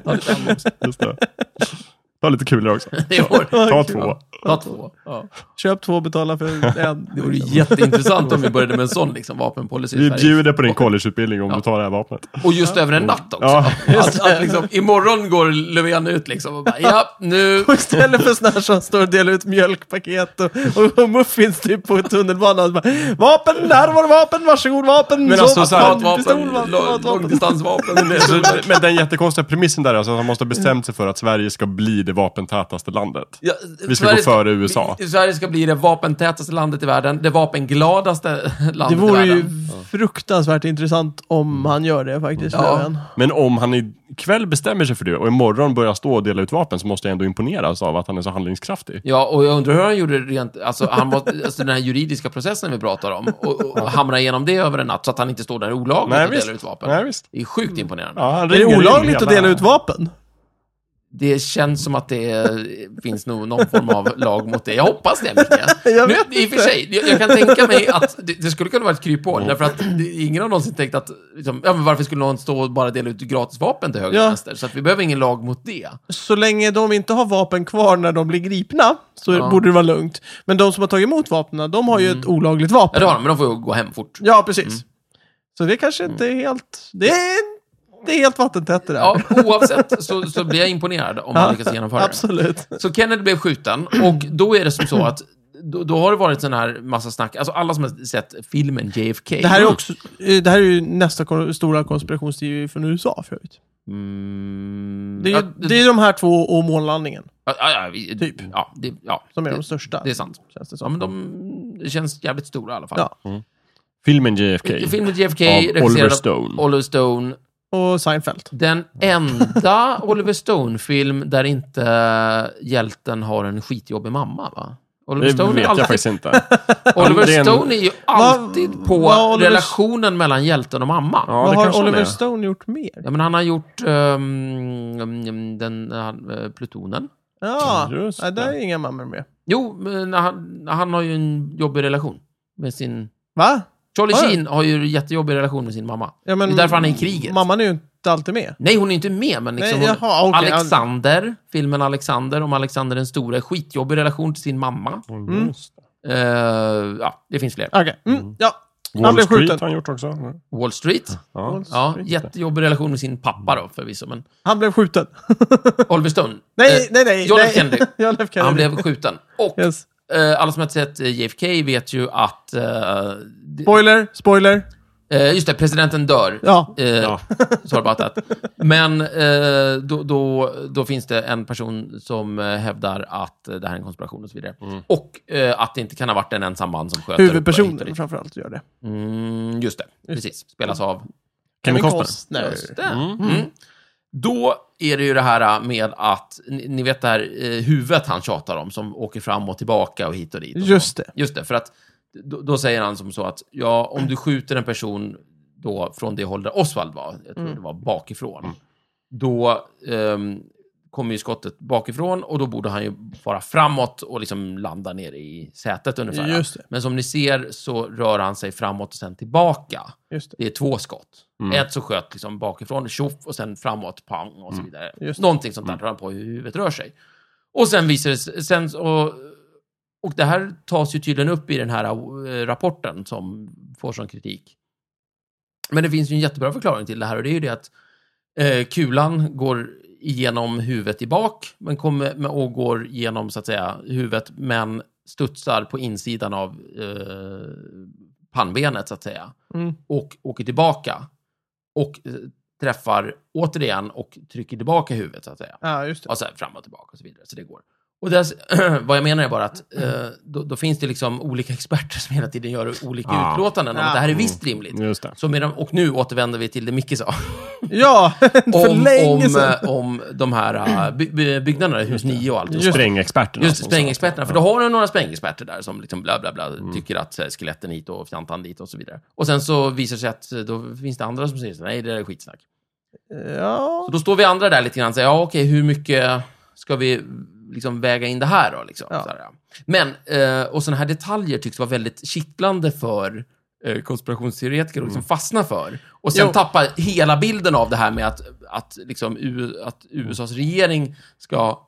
S2: Ta det fem också.
S3: Just det. Ta lite kulor också.
S2: Det går.
S3: Ta två.
S2: Ta två. Ja.
S1: Köp två, betala för en.
S2: Det vore jätteintressant om vi började med en sån liksom, vapenpolicy i
S3: Vi
S2: Sverige.
S3: bjuder på din collegeutbildning om du tar det här vapnet.
S2: Och just över en natt också.
S3: Ja.
S2: Att, att, liksom, imorgon går Löfven ut liksom och bara, ja, nu...
S1: Och istället för sådana här som står och delar ut mjölkpaket och, och, och muffins typ på tunnelbanan. så Bara, vapen, där var det vapen, varsågod vapen. typ,
S3: Men alltså så här-
S1: pistol,
S2: Automatvapen,
S1: vapen,
S2: lång-
S1: automatvapen.
S2: långdistansvapen.
S3: Så- Men den jättekonstiga premissen där är alltså att man måste ha bestämt sig för att Sverige ska bli det vapentätaste landet.
S2: Ja,
S3: Vi ska gå före USA.
S2: Vi, Sverige ska bli det vapentätaste landet i världen, det vapengladaste
S1: Det
S2: landet
S1: vore
S2: i
S1: ju
S2: världen.
S1: fruktansvärt intressant om han gör det faktiskt.
S2: Mm. Ja.
S1: Löfven.
S3: Men om han ikväll bestämmer sig för det och imorgon börjar stå och dela ut vapen så måste jag ändå imponeras av att han är så handlingskraftig.
S2: Ja, och jag undrar hur han gjorde rent, alltså, han var, alltså den här juridiska processen vi pratar om, och, och hamra igenom det över en natt så att han inte står där olagligt
S3: Nej,
S2: och
S3: visst.
S2: delar ut vapen.
S3: Nej, visst.
S2: Det är sjukt imponerande.
S3: Ja, han
S1: Är det
S3: ringer in
S1: olagligt
S3: hela-
S1: att dela ut vapen?
S2: Det känns som att det eh, finns nog någon form av lag mot det. Jag hoppas det, Micke.
S1: Jag
S2: Nu,
S1: vet
S2: I och för sig, jag, jag kan tänka mig att det, det skulle kunna vara ett kryphål, därför att det, ingen har någonsin tänkt att, liksom, ja men varför skulle någon stå och bara dela ut gratis vapen till höger
S1: Ja.
S2: och vänster? Så att vi behöver ingen lag mot det.
S1: Så länge de inte har vapen kvar när de blir gripna så
S2: Ja. Mm.
S1: borde det vara lugnt. Men de som har tagit emot vapnen, de har ju ett olagligt
S2: Ja,
S1: vapen.
S2: det har de, Mm. men de får ju gå hem fort.
S1: Ja, precis. Så det kanske inte är helt... Det är, det är helt vattentätt det där.
S2: Ja, oavsett så, så blir jag imponerad om man lyckas genomföra det.
S1: Absolut.
S2: Så Kennedy blev skjuten och då är det som så att då, då har det varit sån här massa snack, alltså alla som har sett filmen JFK.
S1: Det här är också... eh, Det här är ju nästa kon- stora konspirationsteori från USA för övrigt.
S2: Mm,
S1: Det är,
S2: ja,
S1: ju, det är de här två och månlandningen
S2: ja, ja, vi,
S1: typ.
S2: Ja, det, ja,
S1: som är
S2: det,
S1: de största.
S2: det är sant.
S1: Känns det
S2: Ja,
S1: som.
S2: men de det känns jävligt stora i alla fall.
S1: Ja.
S3: Filmen JFK.
S2: Filmen JFK,
S3: Av Oliver
S2: regisserad av
S3: Stone.
S2: Oliver Stone.
S1: Och Seinfeld.
S2: Den enda Oliver Stone-film där inte hjälten har en skitjobbig mamma, va? Oliver
S3: Det
S2: Stone är
S3: vet jag
S2: alltid
S3: faktiskt inte.
S2: Oliver
S3: Det är en-
S2: Stone är ju alltid på
S1: vad Oliver-
S2: relationen mellan hjälten och mamma. Ja.
S3: Ja, det
S1: Vad har
S3: kanske han
S1: Oliver
S3: är.
S1: Stone gjort mer?
S2: men han har gjort ehm, mm, den, eh, Plutonen.
S1: Ja,
S3: Just
S1: nej, där
S3: det.
S1: är inga mammor med.
S2: Jo, men han, han har ju en jobbig relation med sin...
S1: Va?
S2: Charlie
S1: Har jag?
S2: Sheen har ju en jättejobbig relation med sin mamma.
S1: Ja, men,
S2: Det är därför han är i kriget.
S1: Mamman är ju inte alltid med.
S2: Nej, hon är inte med, men liksom...
S1: Nej,
S2: hon...
S1: jaha, okej.
S2: Alexander, filmen Alexander om Alexander den store, skitjobbig relation till sin mamma.
S1: Mm.
S3: Just det.
S2: Eh, ja, det finns fler.
S1: Ja, Okej, mm, ja. Han
S3: Wall
S1: blev
S3: Street
S1: skjuten.
S3: har han gjort också.
S2: Wall Street.
S3: Ja.
S2: Ja, jättejobbig relation med sin pappa då, förvisso. Men
S1: Han blev skjuten.
S2: Oliver Stone.
S1: Nej,
S2: eh,
S1: nej, nej.
S2: John F.
S1: nej.
S2: Kennedy.
S1: John F. Kennedy.
S2: Han blev skjuten. Och
S1: Yes.
S2: eh, alla som har sett eh, JFK vet ju att... eh, det-
S1: Spoiler, spoiler.
S2: eh, just det, presidenten dör.
S1: Ja.
S2: Eh, Sorry about that. Men eh, då, då, då finns det en person som eh, hävdar att eh, det här är en konspiration och så vidare. Och eh, att det inte kan ha varit en ensam man som sköt. eller
S1: Huvudpersonen
S2: hit
S1: framförallt gör det.
S2: och dit. Mm, just det, precis. Spelas av
S3: Kevin Costner.
S2: Just det. Mm. Då är det ju det här äh, med att, ni, ni vet det här eh, huvudet han tjatar om, som åker fram och tillbaka och hit och dit. Och så.
S1: Just det.
S2: Just det, för att då, då säger han som så att, ja, om du skjuter en person då från det håll där Oswald var, jag
S1: Mm.
S2: tror det var bakifrån, då ehm, kommer ju skottet bakifrån och då borde han ju fara framåt och liksom landa ner i sätet ungefär.
S1: Just det.
S2: Men som ni ser så rör han sig framåt och sen tillbaka.
S1: Just det.
S2: Det är två skott.
S3: Mm.
S2: Ett så sköt liksom bakifrån, tjoff, och sen framåt, pang, och så vidare.
S1: Just det.
S2: Någonting sånt där drar han på hur huvudet rör sig. Och sen visar det sig, sen, och, och det här tas ju tydligen upp i den här eh, rapporten som får sån kritik. Men det finns ju en jättebra förklaring till det här och det är ju det att eh, kulan går igenom huvudet i bak men kommer, och går genom så att säga huvudet men studsar på insidan av eh, pannbenet så att säga
S1: Mm.
S2: och åker tillbaka och eh, träffar återigen och trycker tillbaka huvudet så att säga. Alltså,
S1: Ja, just det.
S2: Och så här fram och tillbaka och så vidare. Så det går. Och där, vad jag menar är bara att eh, då, då finns det liksom olika experter som hela tiden gör olika
S3: Ah.
S2: utlåtanden om att det här är visst rimligt.
S3: Just det.
S2: Så med de, och nu återvänder vi till det Micke sa.
S1: Ja, för
S2: om,
S1: länge
S2: om,
S1: sedan.
S2: eh, om de här eh, by, by, byggnaderna, hus 9 och allt.
S1: Just det.
S3: Sprängexperterna.
S2: Just det,
S3: som
S2: sprängexperterna. För då har du några sprängexperter där som liksom bla bla bla
S1: Mm.
S2: tycker att eh, skeletten hit och fjantan dit och så vidare. Och sen så visar det sig att eh, då finns det andra som säger så, nej det där är skitsnack.
S1: Ja.
S2: Så då står vi andra där lite grann och säger, ja okej, hur mycket ska vi liksom väga in det här då? Liksom,
S1: Ja.
S2: Sådär, ja. Men, eh, och sådana här detaljer tycks vara väldigt kittlande för eh, konspirationsteoretiker att liksom fastna för. Och sen
S1: Mm. Jo.
S2: tappa hela bilden av det här med att, att, liksom, U- att USAs regering ska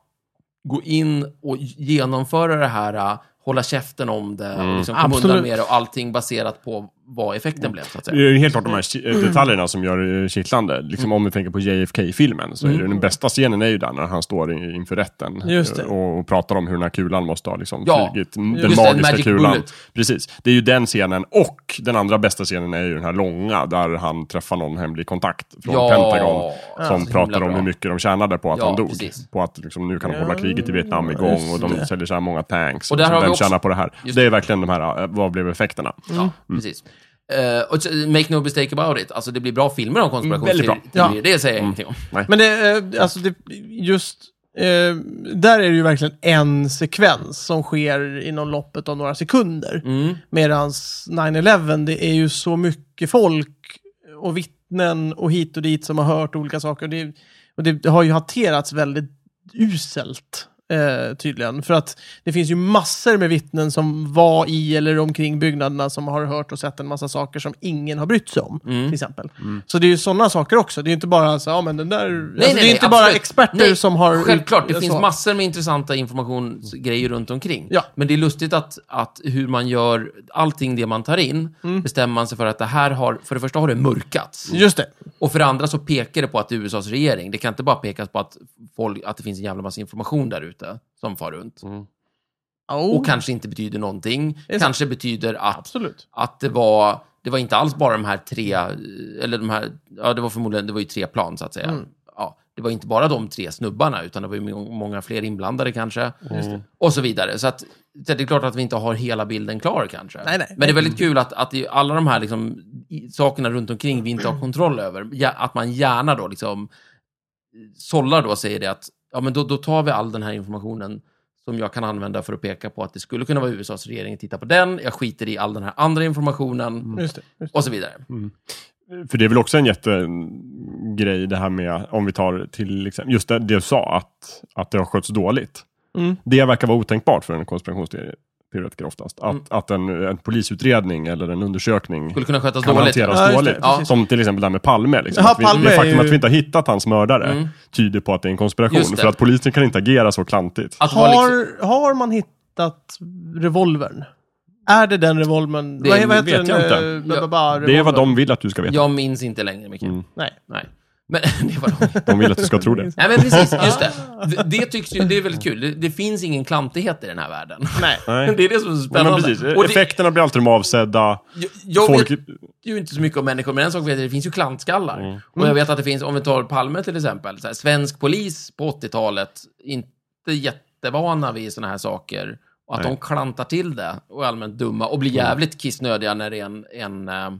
S2: gå in och genomföra det här, eh, hålla käften om det, och liksom komma undan
S1: Mm. Absolut. Mm.
S2: med det och allting baserat på vad effekten blev. Så att säga. Mm.
S3: Det är ju helt klart de här ki- detaljerna som gör eh, kittlande. Liksom om vi tänker på JFK-filmen
S2: Mm.
S3: så är det den bästa scenen är ju där när han står i- inför rätten.
S1: Just det.
S3: eh, Och, och pratar om hur den här kulan måste ha liksom
S2: Ja,
S3: flugit. Den
S2: just det,
S3: magiska
S2: Magic
S3: kulan.
S2: Bullet.
S3: Precis. Det är ju den scenen. Och den andra bästa scenen är ju den här långa där han träffar någon hemlig kontakt från
S2: Ja,
S3: Pentagon.
S2: så
S3: Som
S2: himla
S3: pratar om
S2: bra.
S3: hur mycket de tjänade på att
S2: Ja,
S3: han dog.
S2: precis.
S3: På att liksom, nu kan de hålla
S1: Ja,
S3: kriget i Vietnam igång
S1: just
S3: och de
S1: det.
S3: säljer så här många tanks.
S2: Och
S3: Och
S2: där har vi
S3: vem
S2: också-
S3: tjänar på det här?
S2: Just
S3: Det är verkligen de här, eh, vad blev effekterna?
S2: Ja,
S1: Mm.
S2: precis. Eh, och så, make no mistake about it, alltså det blir bra filmer om konspirationsteorier.
S3: Väldigt
S1: bra. Mm.
S2: teorier, Det säger jag ingenting om.
S1: Men det, eh, alltså det, just, eh, där är det ju verkligen en sekvens som sker inom loppet av några sekunder.
S2: Mm.
S1: Medans 9-11, det är ju så mycket folk och vittnen och hit och dit som har hört olika saker. Och det, och det har ju hanterats väldigt uselt. Eh, tydligen. För att det finns ju massor med vittnen som var i eller omkring byggnaderna som har hört och sett en massa saker som ingen har brytt sig om.
S2: Mm.
S1: Till exempel. Så det är ju sådana saker också. Det är ju inte bara så, ja men den där... alltså, det är
S2: nej,
S1: inte bara
S2: absolut.
S1: experter
S2: Nej,
S1: som har...
S2: Självklart, det
S1: så.
S2: finns massor med intressanta informationsgrejer runt omkring.
S1: Ja.
S2: Men det är lustigt att, att hur man gör allting det man tar in,
S1: Mm.
S2: bestämmer man sig för att det här har, för det första har det mörkats.
S1: Just det.
S2: Och för det andra så pekar det på att det är USAs regering. Det kan inte bara pekas på att, folk, att det finns en jävla massa information där ute som far runt.
S1: Mm. Oh,
S2: Och kanske inte betyder någonting.
S1: är så.
S2: Kanske betyder att
S1: Absolut.
S2: att det var, det var inte alls bara de här tre, eller de här, ja det var förmodligen, det var ju tre plan så att säga.
S1: Mm.
S2: Ja, det var inte bara de tre snubbarna, utan det var ju må- många fler inblandade kanske.
S1: Mm.
S2: Och så vidare. Så att, det är klart att vi inte har hela bilden klar kanske.
S1: Nej, nej.
S2: Men det är väldigt kul att, att det är alla de här liksom, i- sakerna runt omkring vi inte har kontroll över, ja, att man gärna då liksom sållar då säger det att ja, men då, då tar vi all den här informationen som jag kan använda för att peka på att det skulle kunna vara USAs regering, titta på den, jag skiter i all den här andra informationen
S1: Just det.
S3: Mm.
S1: Just
S2: och så vidare.
S3: För det är väl också en jättegrej det här med, om vi tar till exempel, just det, det du sa, att, att det har skötts dåligt.
S1: Mm.
S3: Det verkar vara otänkbart för en konspirationsteoretiker oftast. Att, att en, en polisutredning eller en undersökning
S2: Mm. Skulle kunna skötas
S3: kan
S2: dåligt.
S3: hanteras
S1: Ja, just det,
S3: dåligt.
S2: precis.
S3: Som till exempel det här med Palme. Liksom.
S1: Ja,
S3: att vi,
S1: Palme
S3: det
S1: är
S3: faktum
S1: ju-
S3: att vi inte har hittat hans mördare
S2: Mm.
S3: tyder på att det är en konspiration.
S2: Just det.
S3: För att polisen kan inte agera så klantigt.
S2: Att vara liksom,
S1: Har, har man hittat revolvern? Är det den revolvern?
S2: Det
S1: vad, vad heter den?
S3: vet jag inte.
S1: eh, bla, bla, bla,
S3: det är vad
S1: revolvern?
S3: de vill att du ska veta.
S2: jag minns inte längre, Micke.
S3: Mm.
S1: Nej.
S2: Nej. Men det var långt.
S3: De vill att du ska tro det.
S2: Nej, men precis. Just det. Det, det tycks ju, det är väldigt kul. Det, det finns ingen klantighet i den här världen.
S1: Nej.
S3: Nej.
S2: Det är det som är så
S3: Men
S2: spännande.
S3: precis,
S2: Och det,
S3: effekterna blir alltid de avsedda.
S2: jag, jag vet-
S3: Folk...
S2: ju inte så mycket om människor, men en sak vet jag, det finns ju klantskallar. Och jag vet att det finns, om vi tar Palme till exempel, så här, svensk polis på 80-talet, inte jättevana vid sådana här saker. Och att
S3: Nej.
S2: de klantar till det och är allmänt dumma och blir jävligt kissnödiga när det är en, en, eh,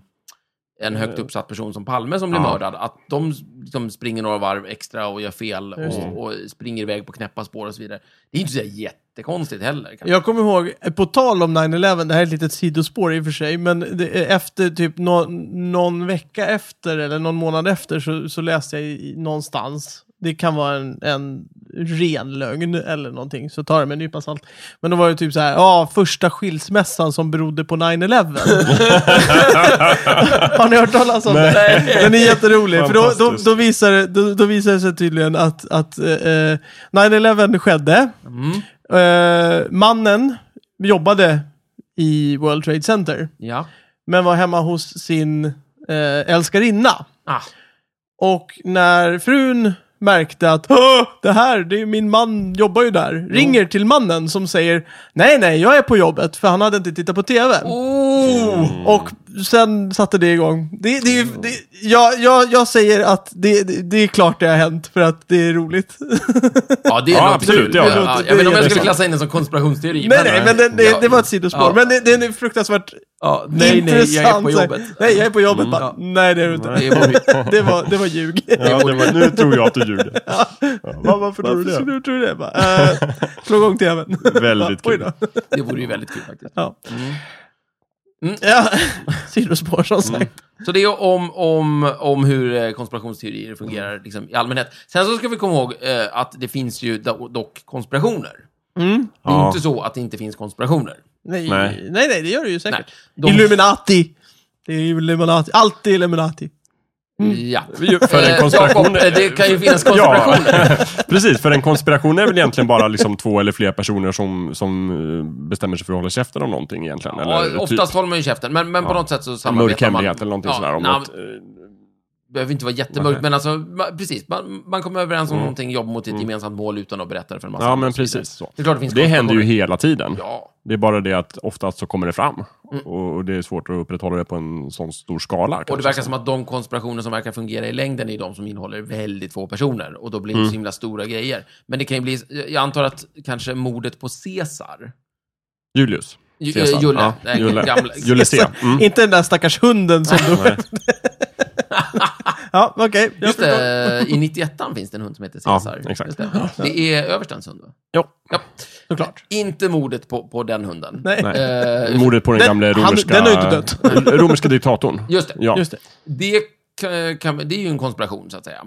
S2: en högt uppsatt person som Palme som blir
S3: Ja.
S2: mördad. Att de liksom springer några varv extra och gör fel
S1: Just det.
S2: och, och springer iväg på knäppa spår och så vidare. Det är inte så där jättekonstigt heller. kanske.
S1: Jag kommer ihåg, eh, på tal om 9-11, det här är ett litet sidospår i och för sig, men det, eh, efter typ nå- någon vecka efter eller någon månad efter så, så läste jag i, någonstans, det kan vara en, en ren lögn eller någonting, så ta det med en nypa salt. Men då var det typ så här, ja, första skilsmässan som berodde på 9-11. Har ni hört talas om det? Den är jätterolig, för då, då, då, visar, det- då, då visar det sig tydligen att, att eh, eh, 9-11 skedde. Eh, mannen jobbade i World Trade Center,
S2: Ja.
S1: men var hemma hos sin eh, älskarinna.
S2: Ah.
S1: Och när frun märkte att "Åh, det här, det är min man jobbar ju där, ringer till mannen som säger nej, nej, jag är på jobbet för han hade inte tittat på TV.
S2: Oh!
S1: Mm.
S2: Mm.
S1: Och sen satte det igång. Det, det, är ju- det, jag, jag, jag säger att det, det, det är klart det har hänt för att det är roligt.
S2: Ja, det är
S3: Ja,
S2: nog
S3: absolut, ja.
S2: Ja,
S3: Det liksom-
S1: låter-
S2: jag vet inte om
S1: det
S2: jag
S1: är
S2: skulle
S1: sant.
S2: klassa in den som konspirationsteori. eh,
S1: nej, nej, men det, det,
S2: Ja.
S1: det var ett sidospår.
S2: Ja.
S1: Men det, det är en fruktansvärt
S2: Ja, nej, nej, jag är
S1: intressant.
S2: på jobbet. Mm,
S1: Nej, jag är på jobbet. Bara,
S2: Ja.
S1: Nej, det är du inte.
S2: Det var mitt-
S1: Det var, det var ljug.
S3: Ja, det var, nu tror jag att du ljuger. Ja, vad- varför tror
S1: Varför
S3: du
S1: skulle
S3: det?
S1: du tro det? Bara, eh, slå igång tvn.
S3: Väldigt
S1: Oj
S3: kul.
S1: då.
S2: Det vore ju väldigt kul faktiskt.
S1: Ja. Mm, Ja, sidospår som
S3: Mm.
S1: sagt.
S2: Så det är om, om, om hur eh, konspirationsteorier fungerar
S3: Mm.
S2: liksom, i allmänhet. Sen så ska vi komma ihåg eh, att det finns ju do- dock konspirationer.
S1: Mm.
S2: Det är
S3: Ja.
S2: inte så att det inte finns konspirationer.
S1: Nej, nej.
S3: Nej.
S1: nej, det gör du ju
S2: Nej.
S1: säkert.
S2: De-
S1: Illuminati! Det är ju Illuminati. Allt är Illuminati.
S2: Ja.
S3: Mm. För
S2: Eh,
S3: en konspiration...
S2: Jakob, eh, det kan ju finnas konspirationer.
S3: Ja, precis. För en konspiration är väl egentligen bara liksom två eller fler personer som, som eh, bestämmer sig för att hålla käften om någonting egentligen.
S2: Ja,
S3: Eller typ
S2: oftast håller man ju käften, men, men på
S3: Ja.
S2: något sätt så
S3: en
S2: samarbetar
S3: mörk
S2: man.
S3: hemlighet eller någonting
S2: Ja,
S3: sådär. Om
S2: nej,
S3: något, eh,
S2: behöver inte vara jättemörkt,
S3: Nej. Mm.
S2: men alltså, ma- precis. Man, man kommer överens om någonting, jobbar mot ett gemensamt mål utan att berätta det för en massa
S3: ja,
S2: andra
S3: men
S2: och så vidare.
S3: precis. Så.
S2: Det är klart det finns
S3: Det händer ju
S2: konspirationer.
S3: hela tiden.
S2: Ja. Mm.
S3: Det är bara det att oftast så kommer det fram. Och och det är svårt att upprätthålla det på en sån stor skala.
S2: Och det
S3: kanske.
S2: verkar som att de konspirationer som verkar fungera i längden är de som innehåller väldigt få personer. Och då blir det
S3: Mm.
S2: inte så himla stora grejer. Men det kan ju bli, jag antar att kanske mordet på Caesar.
S3: Julius.
S2: Ju- eh,
S3: Caesar.
S2: Julle.
S3: Ja,
S2: Nej,
S3: Julle.
S2: gamla-
S3: Julle C. Mm.
S1: Inte den där stackars hunden som du...
S3: Nej.
S1: Ja, okej. jag
S2: Just
S1: förstår.
S2: det, eh, i 91 finns det en hund som heter
S3: Ja,
S2: Caesar.
S3: exakt.
S2: Just det. det är överstens hund, va?
S3: Ja.
S2: Ja.
S1: Såklart.
S2: Inte mordet på, på den hunden.
S1: Nej.
S3: Nej.
S2: Eh,
S3: Mordet på den,
S1: Den-
S3: gamla
S1: han-
S3: romerska...
S1: den är inte död.
S3: romerska diktatorn.
S2: Just det.
S3: Ja.
S1: Just det.
S2: Det, kan, kan, det är ju en konspiration, så att säga.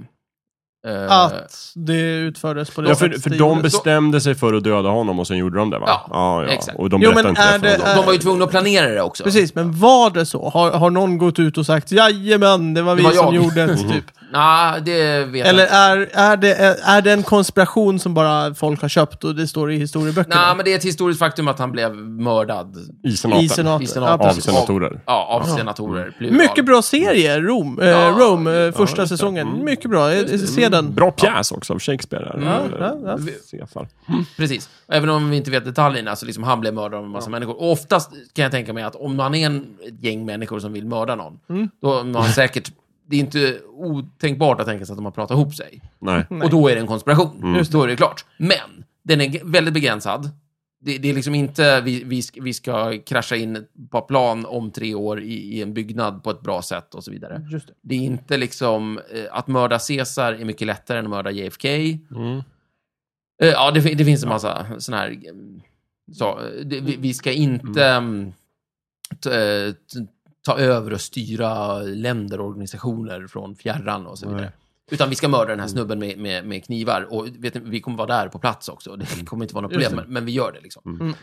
S2: Eh,
S1: Att det utfördes på det
S3: Ja, för,
S1: sättet
S3: för
S1: det
S3: de
S1: gjordes.
S3: bestämde sig för att döda honom och sen gjorde de det va?
S2: Ja,
S3: ja,
S2: exakt.
S3: Och de
S1: Jo,
S3: berättade
S1: men
S3: inte
S1: är
S3: det för
S1: det-
S3: honom.
S1: är-
S2: De var ju tvungna att planera det också.
S1: Precis, men var det så? Har, har någon gått ut och sagt jajamän, det var vi
S2: var
S1: som
S2: jag."
S1: gjorde det,
S3: Mhm.
S1: typ?
S2: Nej, det vet
S1: Eller
S2: jag inte.
S1: är, är, det, är det en konspiration som bara folk har köpt och det står i
S2: Nej,
S1: historieböckerna?
S2: men det är ett historiskt faktum att han blev mördad.
S3: I senaten.
S1: I senaten.
S2: I senaten.
S1: Ja,
S3: Av
S1: precis.
S3: senatorer.
S2: Ja, av senatorer. plural.
S1: Mycket bra serie, Rom, eh,
S2: Ja, Mm.
S1: Rome, eh, första säsongen. Mycket bra, Eh, se den.
S3: Bra pjäs också av Shakespeare. där.
S1: ja, ja.
S3: Caesar.
S2: Precis. Och Även om vi inte vet detaljerna, så liksom han blev mördad av en massa människor. Och oftast kan jag tänka mig att om man är en, ett gäng människor som vill mörda någon,
S1: Mm.
S2: då har man säkert... Det är inte otänkbart att tänka sig att de har pratat ihop sig.
S3: Nej.
S2: Och då är det en konspiration. Mm. Då är det klart. Men den är g- väldigt begränsad. Det, det är liksom inte vi, vi, sk- vi ska krascha in på plan om tre år i, i en byggnad på ett bra sätt och så vidare.
S1: Just det.
S2: är inte liksom eh, att mörda Caesar är mycket lättare än att mörda JFK.
S3: Mm.
S2: Eh, ja, det, fi- det finns en massa sådana här... eh, Så, eh, det, vi, vi ska inte mm. t, eh, t, ta över och styra länder och organisationer från fjärran och så vidare. Utan vi ska mörda den här snubben med, med, med knivar. Och vet ni, vi kommer vara där på plats också. Det kommer inte vara något problem, men, men vi gör Mm. det liksom.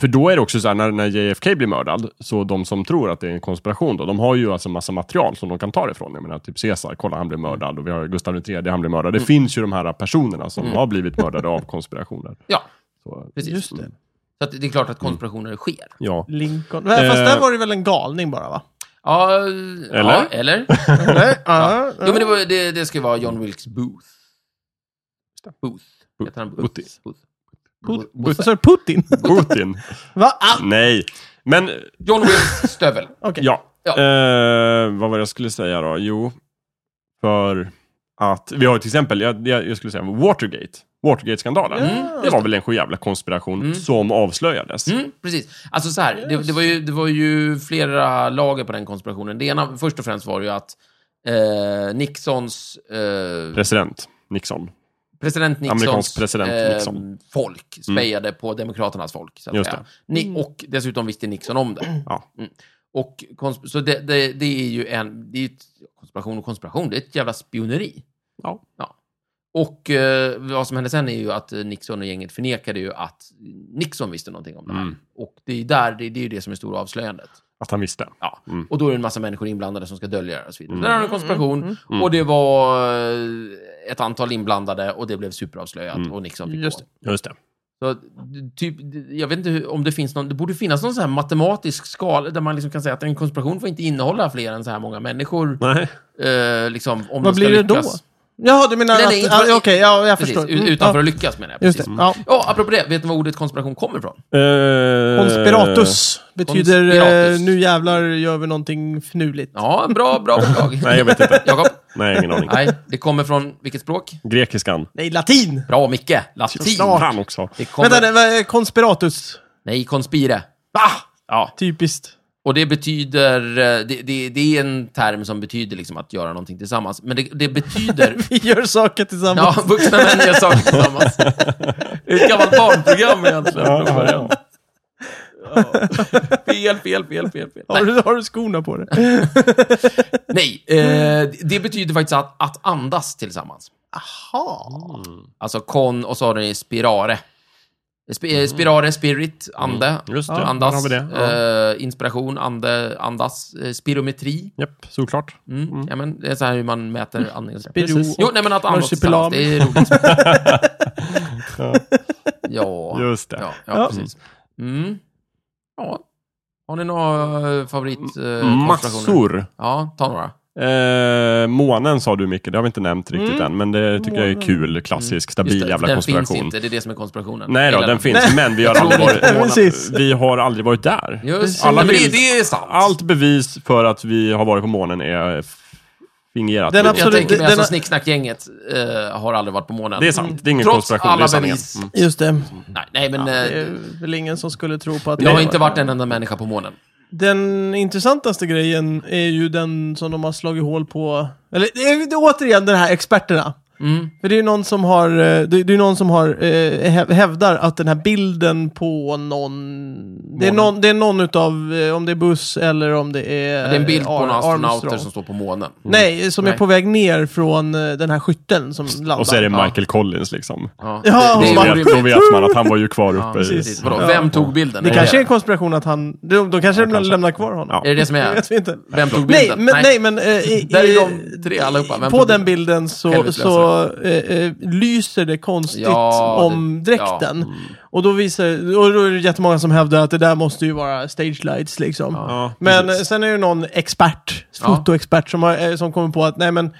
S3: För då är det också så här, när, när JFK blir mördad, så de som tror att det är en konspiration, då, de har ju alltså massa material som de kan ta det ifrån. Jag menar, typ Caesar, kolla han blev mördad, och vi har Gustav III, han blev mördad.
S1: Mm.
S3: Det finns ju de här personerna som har blivit mördade av konspirationer.
S2: Ja,
S3: Så,
S2: precis. Mm.
S1: Just det.
S2: Så att det är klart att konspirationer sker.
S3: ja.
S1: Lincoln. Fast där
S3: Eh.
S1: var det väl en galning bara, va?
S2: Ja, Ja, eller?
S1: Nej, ja.
S2: Jo, men det, var, det, det ska vara John Wilkes Booth. Booth. Heter han Booth?
S3: Booth.
S2: Booth.
S1: Put- Vad sa du? Putin?
S3: Putin.
S1: Va? Ah,
S3: Nej. Men
S2: John Wilkes stövel.
S1: okej.
S3: Ja.
S2: Ja.
S3: Eh, vad var det jag skulle säga då? Jo, för att vi har ju till exempel, jag, jag, jag skulle säga Watergate. Watergate-skandalen. Det var väl en jävla konspiration som avslöjades.
S2: Mm, precis. Alltså så här, det, det, var ju, det var ju flera lager på den konspirationen. Det ena, först och främst var ju att eh, Nixons... Eh,
S3: President Nixon.
S2: president Nixons eh,
S3: Amerikansk president Nixon. Mm.
S2: folk spejade på demokraternas folk. Så att
S3: Just
S2: säga. Ni, och dessutom visste Nixon om det.
S3: Ja.
S2: Mm. Och konsp- så det, det, det är ju en det är ju ett, konspiration och konspiration, det är ett jävla spioneri.
S3: Ja.
S2: Och eh, vad som hände sen är ju att eh, Nixon och gänget förnekade ju att Nixon visste någonting om det här.
S3: Mm.
S2: Och det är ju där, det, det är ju det som är stora avslöjandet.
S3: Att han visste.
S2: Ja.
S3: Mm.
S2: Och då är det en massa människor inblandade som ska dölja det och så vidare.
S3: Mm.
S2: Där har du en konspiration.
S3: Mm.
S2: Och det var eh, ett antal inblandade och det blev superavslöjat
S3: Mm.
S2: och Nixon fick
S1: Just
S2: gå.
S3: Just det.
S2: Så, d- typ, d- jag vet inte hur, om det finns någon, det borde finnas någon sån här matematisk skala där man liksom kan säga att en konspiration får inte innehålla fler än så här många människor.
S3: Nej.
S2: Eh, liksom, om
S1: Vad
S2: den
S1: blir
S2: ska
S1: det då?
S2: lyckas.
S1: Jaha, du menar
S2: Nej,
S1: att...
S2: nej, inte-
S1: ah, Okej, ja, jag
S2: Precis,
S1: förstår. Mm,
S2: ut- utanför
S1: ja,
S2: att lyckas menar jag.
S1: Just det.
S2: Precis. Mm.
S1: Ja.
S2: Ja, apropå det, vet ni var ordet konspiration kommer ifrån?
S3: Eh,
S1: Konspiratus betyder
S2: Konspiratus.
S1: eh, nu jävlar gör vi någonting fnuligt.
S2: Ja, bra, bra förslag.
S3: Nej, jag vet inte.
S2: Jakob?
S3: Nej, ingen aning.
S2: Nej, det kommer från vilket språk?
S3: Grekiskan.
S1: Nej, latin!
S2: Bra, Micke. Latin.
S1: Snart.
S3: Han också.
S2: Det kommer...
S1: Vänta, nej, vad är konspiratus.
S2: Nej, konspire.
S1: Va?
S2: Ja,
S1: Typiskt.
S2: och det betyder... eh, Det, det, det är en term som betyder liksom att göra någonting tillsammans. Men det, det betyder...
S1: Vi gör saker tillsammans.
S2: Ja, vuxna män gör saker tillsammans. Det är ett gammalt barnprogram egentligen. från början. Ja. Fel, fel, fel, fel, fel.
S1: Har, du, har du skorna på dig?
S2: Nej, eh, det betyder faktiskt att, att andas tillsammans.
S1: Aha.
S2: Alltså kon och så har den spirare. Sp- eh, Spirare, spirit, ande.
S3: Mm. Just det,
S2: Ja,
S3: där
S2: andas.
S3: har vi det.
S2: Eh, inspiration, ande, andas. Eh, spirometri.
S3: Japp, såklart.
S2: Mm. Ja, men det är så här hur man mäter andningen.
S1: Spiro
S2: Precis. Jo, nej men att andas tillsammans,
S1: marsipilam.
S2: det är roligt.
S3: Ja.
S2: Ja,
S3: Just det.
S2: ja,
S1: Ja.
S2: ja precis. Mm. Ja. Har ni några favorit... Eh, konstellationer?
S3: Massor.
S2: Ja, ta några.
S3: Eh, månen sa du mycket, det har vi inte nämnt riktigt än. Men det tycker jag är kul, klassisk, stabil
S2: Mm. Just det,
S3: jävla
S2: den
S3: konspiration.
S2: finns inte, det är det som är konspirationen.
S3: Nej då,
S2: Hela
S3: den finns, men vi har, aldrig
S1: Precis.
S3: varit, vi har aldrig varit där.
S2: Just
S3: Alla
S2: Alla men det,
S3: vill-
S2: det är sant.
S3: Allt bevis för att vi har varit på månen är fingerat.
S1: Den
S3: Det-
S2: jag
S1: absolut-
S2: tänker mig
S1: den-
S2: alltså snicksnackgänget eh, har aldrig varit på månen.
S3: Det är sant, det är ingen
S2: Trots
S3: konspiration,
S2: alla
S3: det är sanningen.
S2: bevis.
S3: Mm.
S1: Just det.
S2: Nej, nej men
S1: Det
S2: eh,
S1: är väl ingen som skulle tro på att...
S2: det har inte varit en enda människa på månen.
S1: Den intressantaste grejen är ju den som de har slagit hål på. Eller det är, det är återigen den här experterna.
S2: Mm.
S1: För det är ju någon som har, eh, det det är ju någon som har, eh, häv- hävdar att den här bilden på någon, det är någon, det är någon utav, eh, om det är buss eller om det är...
S2: Det är en bild
S1: eh,
S2: på några
S1: Ar-
S2: astronauter
S1: Armstrong.
S2: som står på månen.
S3: Mm.
S1: Nej, som är
S2: Nej.
S1: på väg ner från eh, den här skytten som landar.
S3: Och så är det
S2: Ja.
S3: Michael Collins liksom.
S2: Ja,
S1: Ja,
S2: det,
S3: Då
S2: det är
S1: man-
S3: vet, då
S2: orimligt.
S3: vet man att han var ju kvar uppe i... Mm.
S2: Precis. Vadå,
S1: Ja.
S2: Vem tog bilden?
S1: Det
S2: Är
S1: kanske är en konspiration att han, de, de kanske,
S3: kanske.
S1: lämnar kvar honom.
S3: Ja.
S2: Är det det som
S1: Det
S2: är?
S1: vet vi inte.
S2: Vem tog
S1: Nej,
S2: bilden?
S1: men, nej, men eh, i,
S2: Där är
S1: i-
S2: de tre allihopa. Vem
S1: på
S2: tog
S1: den bilden så,
S2: Helvetlösare.
S1: så eh, eh, lyser det konstigt
S2: alltså. Ja, Mm.
S1: om
S2: det-
S1: dräkten. Och, då visar, och då är det jättemånga som hävdar att det där måste ju vara stage lights liksom.
S3: Ja,
S1: Men eh,
S3: precis.
S1: sen är det någon expert,
S2: Ja.
S1: fotoexpert, som, har, eh, som kommer på att nej men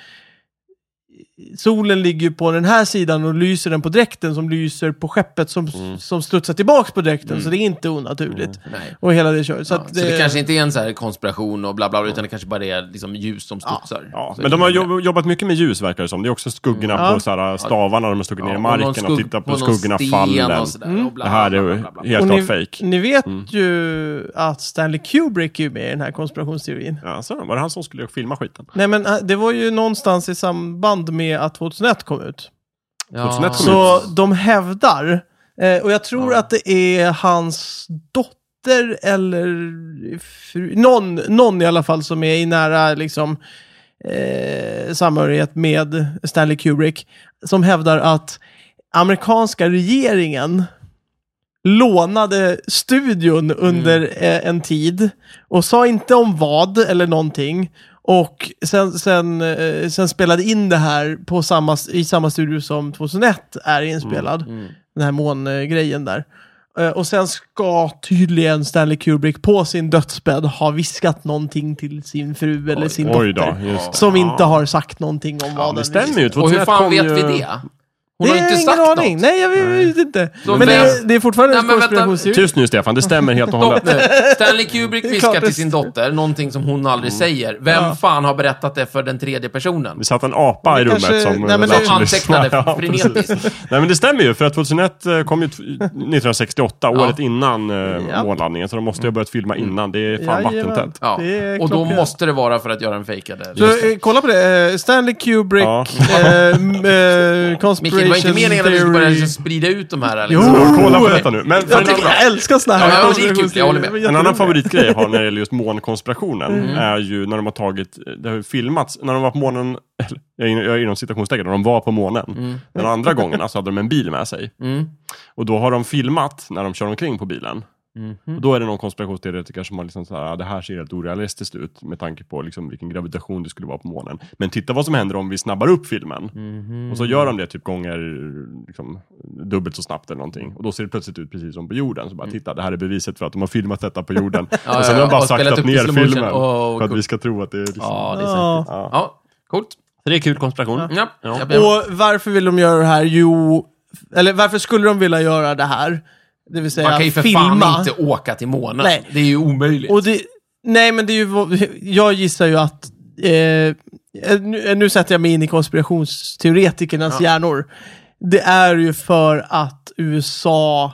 S1: solen ligger ju på den här sidan och lyser den på dräkten som lyser på skeppet som,
S2: Mm.
S1: som studsar tillbaks på dräkten. Så det är inte onaturligt.
S2: Nej.
S1: Och hela det köret. Så,
S2: Mm. Ja,
S1: att eh,
S2: så det kanske inte är en så här konspiration och bla bla, bla utan det kanske bara är liksom ljus som studsar.
S3: Ja,
S2: Så
S3: men de har jobb, jobbat mycket med ljus verkar det som. Det är också skuggorna
S1: Ja.
S3: på så här, stavarna de har stuckit ner i
S2: Mm. Ja, någon
S3: marken och
S2: skugg-
S3: tittat på,
S2: någon
S3: skuggorna
S2: sten
S3: fallen. Mm.
S2: och sådär, och bla,
S3: Det här är
S2: bla,
S3: ju
S2: bla, bla, bla.
S3: helt
S1: ni,
S3: klart fejk.
S1: ni vet
S2: Mm.
S1: ju att Stanley Kubrick är ju med i den här konspirationsteorin.
S3: Ja, så var det han som skulle filma skiten?
S1: Nej men eh, det var ju någonstans i samband med att 2001 kom ut.
S2: Ja.
S3: 2001 kom ut.
S1: Så de hävdar, eh, och jag tror
S2: Ja.
S1: att det är hans dotter eller fru, någon, någon i alla fall som är i nära liksom, eh, samhörighet med Stanley Kubrick, som hävdar att amerikanska regeringen lånade studion under eh, en tid och sa inte om vad eller någonting. Och sen, sen, eh, sen spelade in det här på samma, i samma studio som 2001 är inspelad. Den här mångrejen där. Eh, Och sen ska tydligen Stanley Kubrick på sin dödsbädd ha viskat någonting till sin fru eller sin
S3: Oj då,
S1: dotter.
S3: just det.
S1: Som inte har sagt någonting om
S3: Ja,
S1: vad
S3: det
S1: den
S3: stämmer ju. 2001
S2: Och hur fan
S3: kom
S2: vet
S3: ju...
S2: vi det? Hon
S1: det
S2: har inte
S1: är
S2: sagt
S1: ingen aning.
S2: något.
S1: Nej, jag vet inte.
S2: Så
S1: men det är,
S2: vem-
S1: det är fortfarande
S2: Nej,
S1: en
S2: men vänta.
S1: konspirationsteori.
S3: Tyst nu Stefan, det stämmer helt och hållet.
S2: Stopp nu. Stanley Kubrick
S1: Det är
S2: viskar
S1: klart
S2: till
S1: det-
S2: sin dotter någonting som hon aldrig
S3: Mm.
S2: säger. Vem
S1: Ja.
S2: fan har berättat det för den tredje personen?
S3: Det satt en apa i rummet
S1: kanske-
S3: som
S1: nej, men
S3: lät
S1: det-
S3: som
S2: Antecknade
S3: lyssnade. Ja, precis.
S2: frenetiskt.
S3: Nej men det stämmer ju, för att 2001 eh, kom ju t- 1968, året innan eh,
S1: Ja.
S3: månlandningen. Så de måste ju ha börjat filma innan, det är fan
S1: Jajamän.
S3: vattentätt.
S2: Ja.
S1: Det är
S2: Och då
S1: klockrent.
S2: måste det vara för att göra en fejkade.
S1: Så eh, kolla på det. Eh, Stanley Kubrick,
S3: Ja.
S1: eh, m- eh,
S2: Micke, det
S1: Conspiration
S2: var inte meningen att vi skulle börja liksom
S1: Theory.
S2: sprida ut de här.
S1: Jo!
S2: Liksom.
S3: Kolla på detta nu. Men för
S1: Jag,
S3: en,
S1: tycker,
S3: annan,
S1: jag älskar såna här
S2: Ja, ja, det är kul. Jag håller med.
S1: Det var
S3: en annan
S1: jätteroligt.
S3: favoritgrej jag har när det gäller just månkonspirationen är ju när de har tagit, det har ju filmats, när de var på månen, eller, jag är in- jag är inom citationstecken, när de var på månen. Den andra gången alltså, hade de en bil med sig.
S2: Mm.
S3: Och då har de filmat när de kör omkring på bilen.
S2: Mhm.
S3: Och då är det någon konspirationsteoretiker som har liksom så här, "Ah, det här ser helt orealistiskt ut med tanke på liksom vilken gravitation det skulle vara på månen. Men titta vad som händer om vi snabbar upp filmen.
S2: Mhm.
S3: Och så gör de det typ gånger liksom, dubbelt så snabbt eller någonting. Och då ser det plötsligt ut precis som på jorden. Så bara titta, det här är beviset för att de har filmat detta på jorden.
S2: Mm. Ja,
S3: och sen
S2: ja,
S3: har de bara
S2: och spelat
S3: saktat
S2: upp i
S3: ner
S2: slow motion.
S3: filmen
S2: Åh, vad
S3: för att
S2: coolt.
S3: vi ska tro att det är liksom...
S2: Ja, det är säkert.
S1: Ja.
S3: Ja.
S2: Ja, coolt.
S5: Så det är kul konspiration.
S2: Ja.
S5: Ja.
S2: Jag ber om-
S1: Och varför vill de göra det här? Jo, eller varför skulle de vilja göra det här? Det vill säga
S2: Man kan ju för
S1: filma.
S2: fan inte åka till månen.
S1: Nej.
S2: Det är ju omöjligt.
S1: Och det, nej, men det är ju, vad- jag gissar ju att, eh, nu, nu sätter jag mig in i konspirationsteoretikernas hjärnor. Det är ju för att USA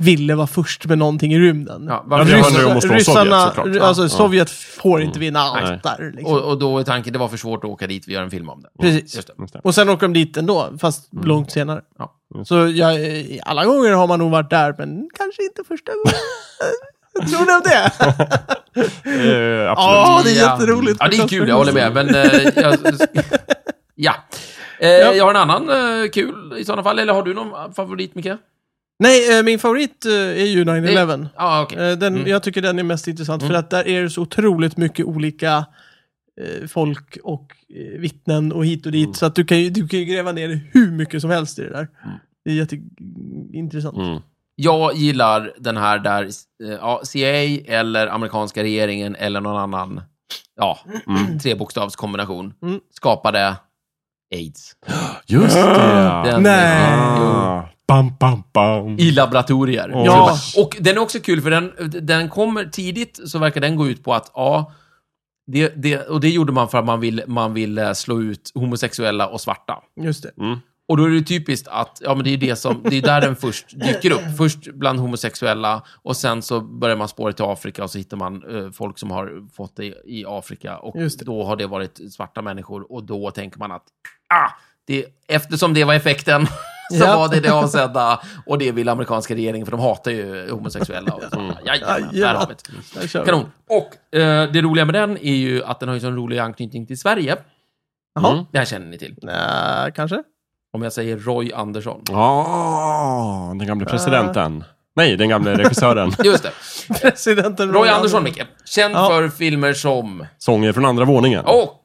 S1: ville vara först med någonting i rymden.
S2: ja,
S3: Ja,
S2: varför
S3: det
S1: Ryssa-
S3: handlar ju om att slå Sovjet såklart. Mm.
S1: ry- alltså Sovjet får inte vinna allt där. Liksom.
S2: och, och då är tanken, det var för svårt att åka dit, vi gör en film om det.
S1: Precis.
S2: Just det.
S3: Just det. Mm.
S1: Och sen åker de dit ändå, fast långt senare.
S2: Ja.
S1: Så jag, eh, alla gånger har man nog varit där, men kanske inte första gången. Tror ni om det?
S3: Eh, absolut.
S1: Ja, det är
S2: Ja.
S1: jätteroligt.
S2: Ja, det är kul, jag håller med. Men, eh, jag, ja. Eh, Jag har en annan eh, kul i sådana fall. Eller har du någon favorit, Micke?
S1: Nej, eh, min favorit eh, är ju 9-11.
S2: Ja, okej.
S1: Eh, Den, Jag tycker den är mest intressant
S2: Mm.
S1: för att där är det så otroligt mycket olika eh, folk och eh, vittnen och hit och
S2: Mm.
S1: dit. Så att du kan, ju, du kan ju gräva ner hur mycket som helst i det där.
S2: Mm.
S1: Det är jätteintressant.
S3: Mm.
S2: Jag gillar den här där eh, ja, CIA eller amerikanska regeringen eller någon annan ja, trebokstavskombination
S1: Mm.
S2: skapade aids.
S3: Just det.
S2: Den- eh,
S1: Nej.
S3: Ah. Bam, bam, bam.
S2: I laboratorier.
S3: Åh.
S1: Ja.
S2: Och den är också kul, för den, den kommer tidigt så verkar den gå ut på att, ja, det, det, och det gjorde man för att man vill, man vill eh, slå ut homosexuella och svarta.
S1: Just det.
S2: Och då är det typiskt att, ja men det är ju det som, det är där den först dyker upp. Först bland homosexuella och sen så börjar man spåra till Afrika och så hittar man eh, folk som har fått det i, i Afrika. Och
S1: Just det.
S2: då har det varit svarta människor och då tänker man att, ah, det, eftersom det var effekten så
S1: Ja.
S2: var det det avsedda. Och det vill amerikanska regeringen, för de hatar ju homosexuella. Och så, Jajamän, där har vi det.
S1: Där kör vi.
S2: Kanon. Och eh, det roliga med den är ju att den har ju sån rolig anknytning till Sverige.
S1: Jaha.
S2: Det här känner ni till.
S1: Nä, kanske?
S2: Om jag säger Roy Andersson.
S3: Ah, den gamle presidenten. Nej, den gamle regissören.
S2: Just det.
S1: Presidenten
S2: Roy Andersson, Micke. Känd
S1: Ja.
S2: för filmer som...
S3: Sånger från andra våningen.
S2: Och...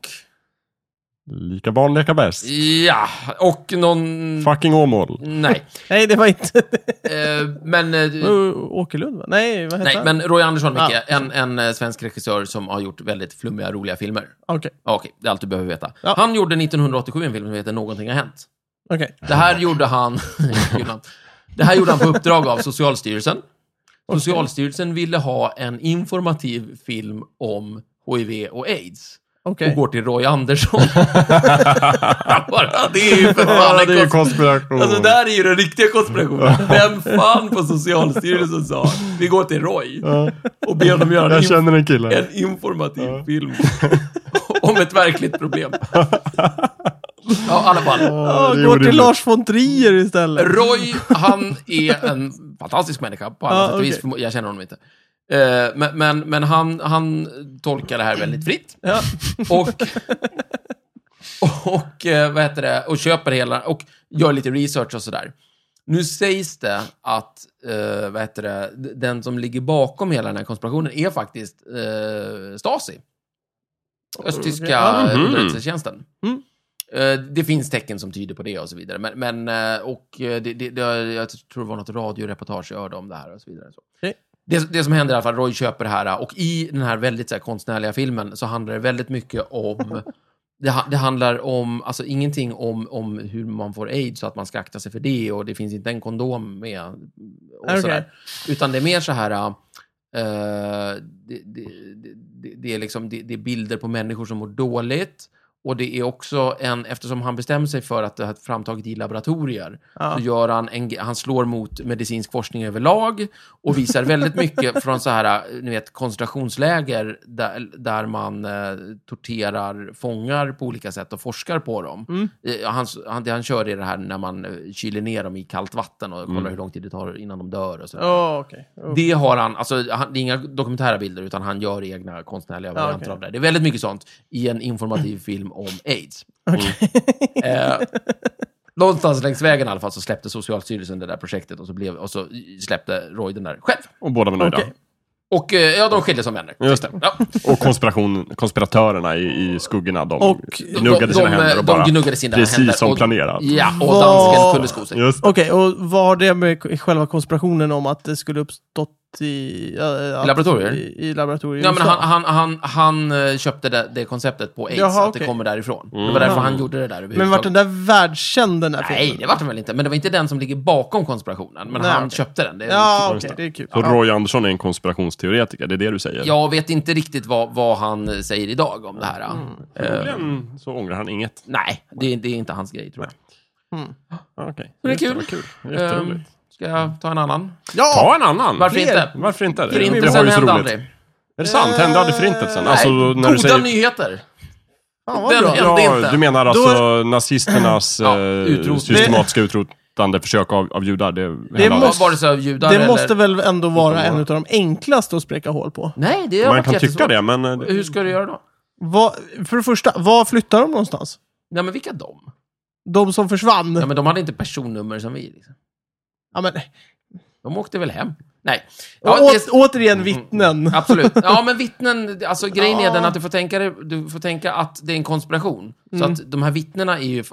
S3: Lika barn leka bäst.
S2: Ja, och någon...
S3: Fucking Åmål.
S2: Nej.
S1: Nej, det var inte...
S2: Eh, men... eh,
S1: Ö, Åkerlund, va? Nej, vad hette
S2: Nej,
S1: han?
S2: men Roy Andersson, Micke.
S1: Ja.
S2: En, en eh, svensk regissör som har gjort väldigt flummiga, roliga filmer.
S1: Okej,
S2: Ja, Okej, det är allt du behöver veta.
S1: Ja.
S2: Han gjorde 1987 en film som heter Någonting har hänt.
S1: okej.
S2: Det här gjorde han... Kul namn. det här gjorde han på uppdrag av Socialstyrelsen. Socialstyrelsen ville ha en informativ film om HIV och AIDS.
S1: Okej.
S2: och går till Roy Andersson. Bara, det är ju för fan
S3: Ja,
S2: en
S3: det är ju
S2: konspiration.
S3: konspiration.
S2: Alltså det där är ju den riktiga konspirationen. Vem fan på Socialstyrelsen sa vi går till Roy och ber honom göra
S3: Jag
S2: en,
S3: känner en kille.
S2: en informativ film om ett verkligt problem. Ja, i alla fall.
S3: Ja,
S1: Ja,
S3: det är
S1: går till
S3: orimligt.
S1: Lars von Trier istället.
S2: Roy, han är en fantastisk människa på alla
S1: Ja,
S2: sätt och vis.
S1: okej.
S2: Förmo- Jag känner honom inte. Eh, Men, men, men han, han tolkar det här väldigt fritt.
S1: Ja.
S2: Och, och, eh, vad heter det, och köper hela, och gör lite research och sådär. Nu sägs det att, eh, vad heter det, d- den som ligger bakom hela den här konspirationen är faktiskt eh, Stasi. Östtyska
S1: Ja,
S2: okay.
S3: mhm.
S2: underrättelsetjänsten.
S1: Mm.
S2: Eh, Det finns tecken som tyder på det och så vidare. Men, men eh, och eh, det, det, det, jag tror det var något radioreportage jag hörde om det här och så vidare. Så.
S1: Okej.
S2: Det, det som händer i alla fall, Roy köper det här och i den här väldigt så här, konstnärliga filmen så handlar det väldigt mycket om Det, ha- det handlar om, alltså ingenting om, om hur man får aids så att man ska akta sig för det och det finns inte en kondom med. Och
S1: Okej.
S2: sådär. Utan det är mer så här, eh, det, det, det- det, det, är liksom, det, det är bilder på människor som mår dåligt. Och det är också en, eftersom han bestämmer sig för att det här är framtaget i laboratorier,
S1: Ja.
S2: så gör han en, han slår mot medicinsk forskning överlag och visar väldigt mycket från så här, ni vet, koncentrationsläger där, där man eh, torterar fångar på olika sätt och forskar på dem. Eh, Han, han, det han kör är det här när man eh, kyler ner dem i kallt vatten och kollar hur lång tid det tar innan de dör och så.
S1: Ja, okej. Oh.
S2: Det har han, alltså han, det är inga dokumentära bilder utan han gör egna konstnärliga varianter
S1: okej.
S2: av det. Det är väldigt mycket sånt i en informativ film om aids. Eh, någonstans längs vägen i alla fall så släppte Socialstyrelsen det där projektet och så, blev, och så släppte Roy den där själv.
S3: Och båda var nöjda.
S1: Okej.
S2: Och eh, ja, de skilde som vänner.
S3: Just det.
S2: Ja.
S3: Och konspiration, konspiratörerna i, i skuggorna, de
S1: Och-
S3: gnuggade sina
S2: de,
S3: händer
S2: de
S3: och bara...
S2: gnuggade sina
S3: precis
S2: händer.
S3: som
S2: och,
S3: planerat.
S2: Ja, och
S1: Vad-
S2: dansken kunde sko sig.
S3: Just det.
S1: Okej, och vad har det med k- själva konspirationen om att det skulle uppstått i... eh, att-
S2: Laboratorier?
S1: I, i laboratorier.
S2: Ja, men
S1: i USA.
S2: han, han, han, han eh, köpte det, det konceptet på aids,
S1: Jaha,
S2: att det
S1: okej.
S2: kommer därifrån. Det
S3: Mm.
S2: var därför han gjorde det där
S1: men vart
S2: överhuvudtaget.
S1: den där världskänd den där
S2: Nej,
S1: filmen?
S2: det var den väl inte. Men det var inte den som ligger bakom konspirationen. Men
S1: Nej,
S2: han
S1: okej.
S2: köpte den. Det är
S1: Ja, okej,
S3: Just det.
S1: det är kul.
S3: Så
S1: Ja.
S3: Roy Andersson är en konspirationsteoretiker, det är det du säger?
S2: Jag vet inte riktigt vad, vad han säger idag om det här. ja.
S3: Mm.
S2: Eh,
S3: Förmodligen så ångrar han inget.
S2: nej, det, det är inte hans grej, tror jag.
S3: Ah, Okej.
S2: det är kul.
S3: Jättebra, kul. Jätteroligt.
S2: Eh, ska jag ta en annan?
S1: ja!
S3: Ta en annan!
S2: Varför
S1: fel.
S2: inte?
S3: Varför inte? Det- det var
S2: Förintelsen
S3: ju så
S2: hände
S3: roligt.
S2: aldrig.
S3: Är det sant? Hände aldrig förintelsen? Alltså,
S2: Eh, nej,
S3: när
S2: goda
S3: du säger...
S2: nyheter.
S1: Fan, vad
S2: den
S1: bra.
S2: hände inte.
S3: Ja, du menar alltså nazisternas
S2: Ja,
S3: eh,
S2: utrotning.
S3: systematiska utrotande försök av, av judar? Det, hände
S1: Det
S3: aldrig.
S1: måste-
S2: Vare sig av judar
S1: Det
S2: eller...
S1: måste väl ändå vara en av de enklaste att spräcka hål på?
S2: Nej, det har
S3: Man
S2: varit
S3: kan tycka
S2: jättesvårt.
S3: det, men... eh,
S2: Hur ska du göra då?
S1: Vad- för det första, var flyttar de någonstans?
S2: Nej, men vilka de?
S1: De som försvann?
S2: Ja, men de hade inte personnummer som vi. Liksom.
S1: Ja, men,
S2: De åkte väl hem? Nej.
S1: och
S2: Ja,
S1: åt,
S2: det- Mm,
S1: Återigen vittnen.
S2: Absolut. Ja, men vittnen, alltså grejen
S1: Ja.
S2: är den att du får tänka, dig- du får tänka att det är en konspiration. Så att de här vittnena är ju...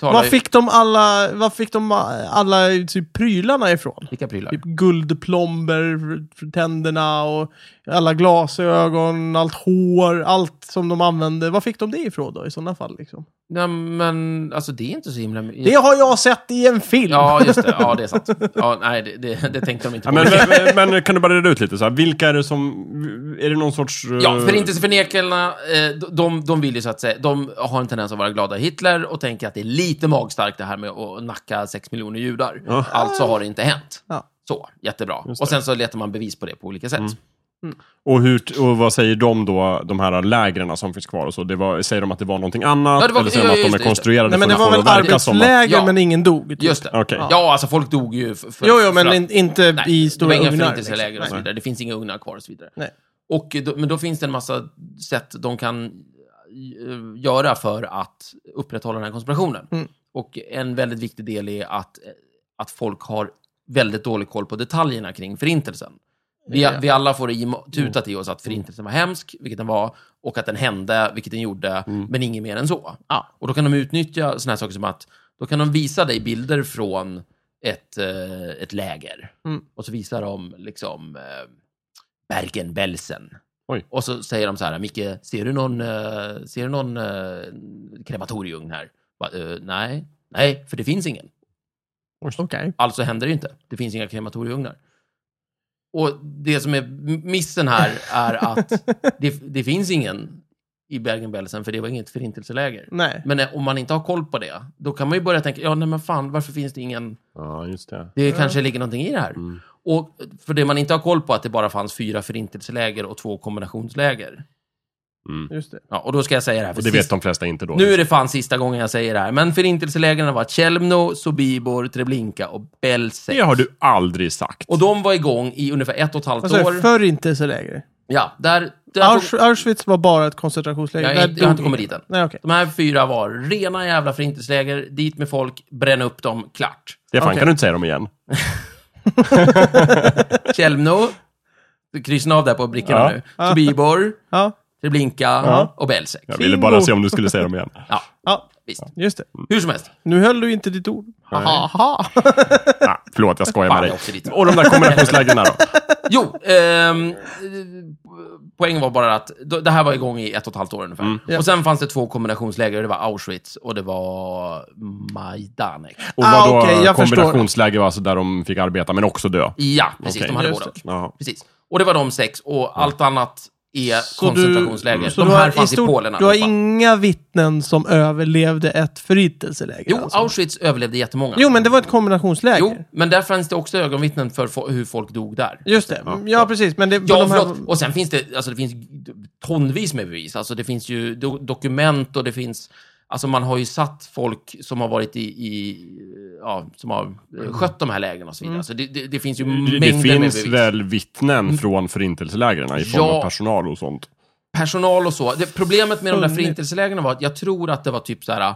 S2: Talar
S1: Var
S2: ju,
S1: fick de alla, var fick de alla typ prylarna ifrån?
S2: vilka prylar?
S1: Typ guldplomber för- för tänderna och alla glasögon, allt hår, allt som de använde. Var fick de det ifrån då i sådana fall? Liksom?
S2: Nej, men alltså det är inte så himla...
S1: Det har jag sett i en film!
S2: Ja, just det. Ja, det är sant. Ja, nej, det, det, det tänkte de inte
S3: Ja,
S2: på.
S3: men, men, men kan du bara reda ut lite? Så här, vilka är det som... Är det någon sorts... eh,
S2: Ja, förintelseförnekarna, eh, de- de, de vill ju så att säga, de har en tendens att vara glada i Hitler och tänker att det är lite magstarkt det här med att nacka 6 miljoner judar.
S3: Ja.
S2: Alltså har det inte hänt.
S1: Ja.
S2: Så, jättebra.
S3: Just
S2: Och sen så letar man bevis på det på olika sätt.
S3: Och, hur, och vad säger de då, de här lägren som finns kvar och så? Det var, säger de att det var någonting annat?
S2: Ja, det var-
S3: eller säger de
S2: ja,
S3: att
S2: just
S3: de
S2: det,
S3: är
S2: just
S3: konstruerade
S1: Nej, men det
S3: för
S1: var väl
S3: att få det att verka som att...
S1: arbetsläger
S2: Ja.
S1: men ingen dog? typ.
S2: Just det.
S3: Okej.
S2: Ja, alltså folk dog ju för, för,
S1: Jo, jo, men
S2: för att-
S1: in, inte i stora
S2: det var inga
S1: ugnar. liksom.
S2: förintelseläger alltså. och så
S1: Nej.
S2: vidare. Det finns inga ugnar kvar och så vidare.
S1: Nej.
S2: Och, då, men då finns det en massa sätt de kan eh, göra för att upprätthålla den här konspirationen.
S1: Mm.
S2: Och en väldigt viktig del är att, eh, att folk har väldigt dålig koll på detaljerna kring förintelsen. Vi,
S1: Ja. Mm.
S2: vi alla får i, tutat i oss att förintelsen var hemsk, vilket den var, och att den hände, vilket den gjorde, men inget mer än så.
S1: Mm. Ja.
S2: Och då kan de utnyttja såna här saker som att, då kan de visa dig bilder från ett, eh, ett läger.
S1: Mm.
S2: Och så visar de liksom eh, Bergen-Belsen.
S3: Oj.
S2: Och så säger de så här, Micke, ser du någon, eh, ser du någon eh, krematorieugn här? Va, eh, nej, nej, för det finns ingen.
S1: Okej.
S2: Alltså händer det inte. Det finns inga krematorieugnar. Och det som är missen här är att det, det finns ingen i Bergen-Belsen, för det var inget förintelseläger.
S1: Nej.
S2: Men eh, om man inte har koll på det, då kan man ju börja tänka, ja nej men fan, varför finns det ingen,
S3: Ja, Mm. just det.
S2: det kanske ligger någonting i det här. Och för det man inte har koll på, att det bara fanns fyra förintelseläger och två kombinationsläger. Mm.
S1: Just det.
S2: Ja, och då ska jag säga det här för
S3: Och det
S2: sist.
S3: vet de flesta inte då.
S2: Nu är det fan sista gången jag säger det här, men förintelselägren har varit Chelmno, Sobibor, Treblinka och Belzec.
S3: Det har du aldrig sagt.
S2: Och de var igång i ungefär ett och ett halvt
S1: Vad sa
S2: år.
S1: du? Förintelseläger?
S2: Ja, där... där
S1: Aus Auschwitz var bara ett koncentrationsläger.
S2: Jag,
S1: Där
S2: är inte- jag har inte
S1: dog
S2: kommit dit
S1: ingen.
S2: än.
S1: Nej, okej.
S2: De här fyra var rena jävla förintelseläger, dit med folk, bränna upp dem, klart.
S3: Stefan,
S1: Okej.
S3: kan du inte säga dem igen?
S2: Chelmno, kryssen av där på brickorna
S3: Ja.
S2: nu. Sobibor,
S1: Ja.
S2: Treblinka och Belzec.
S3: Jag ville
S1: Bingo.
S3: bara se om du skulle säga dem igen.
S2: Ja,
S1: ja,
S2: visst. Mm.
S1: just det.
S2: Hur som helst.
S1: Nu höll du inte ditt ord. Haha.
S3: Ah, förlåt, jag skojar
S2: Fan,
S3: med
S2: jag åkte
S3: dig.
S2: dit.
S3: Och de där kombinationslägren då?
S2: Jo, ehm, poängen var bara att då- det här var igång i ett och ett halvt år ungefär.
S1: Mm.
S2: Och sen fanns det två kombinationsläger, det var Auschwitz och det var Majdanek.
S3: Och
S1: Ah,
S3: vad då
S1: okej, jag förstår.
S3: kombinationsläger var alltså där de fick arbeta, men också dö.
S2: Ja, precis.
S3: Okej.
S2: De hade
S1: Just
S2: både och.
S3: Ja.
S2: Precis. Och det var de sex och allt annat är
S1: Så du-
S2: koncentrationsläger.
S1: Så
S2: de
S1: du har
S2: här fanns
S1: i stort-
S2: i Polen
S1: Du har
S2: allihopa.
S1: inga vittnen som överlevde ett förintelseläger?
S2: Jo,
S1: alltså.
S2: Auschwitz överlevde jättemånga.
S1: jo, men det var ett kombinationsläger.
S2: Jo, men där fanns det också ögonvittnen för fo- hur folk dog där.
S1: Just det. Ja, precis. Men det, men
S2: Ja,
S1: de här-
S2: förlåt. Och sen finns det, alltså det finns tonvis med bevis. Alltså det finns ju do dokument och det finns, alltså man har ju satt folk som har varit i, i ja, som har eh, skött de här lägren och så vidare. Så det, det, det finns ju
S3: Det,
S2: mängder
S3: det
S2: med
S3: finns
S2: bevis.
S3: väl vittnen från förintelselägren i form
S2: Ja.
S3: av personal och sånt?
S2: Personal och så. Det, problemet med de där
S1: Funnits.
S2: förintelselägren var att jag tror att det var typ så här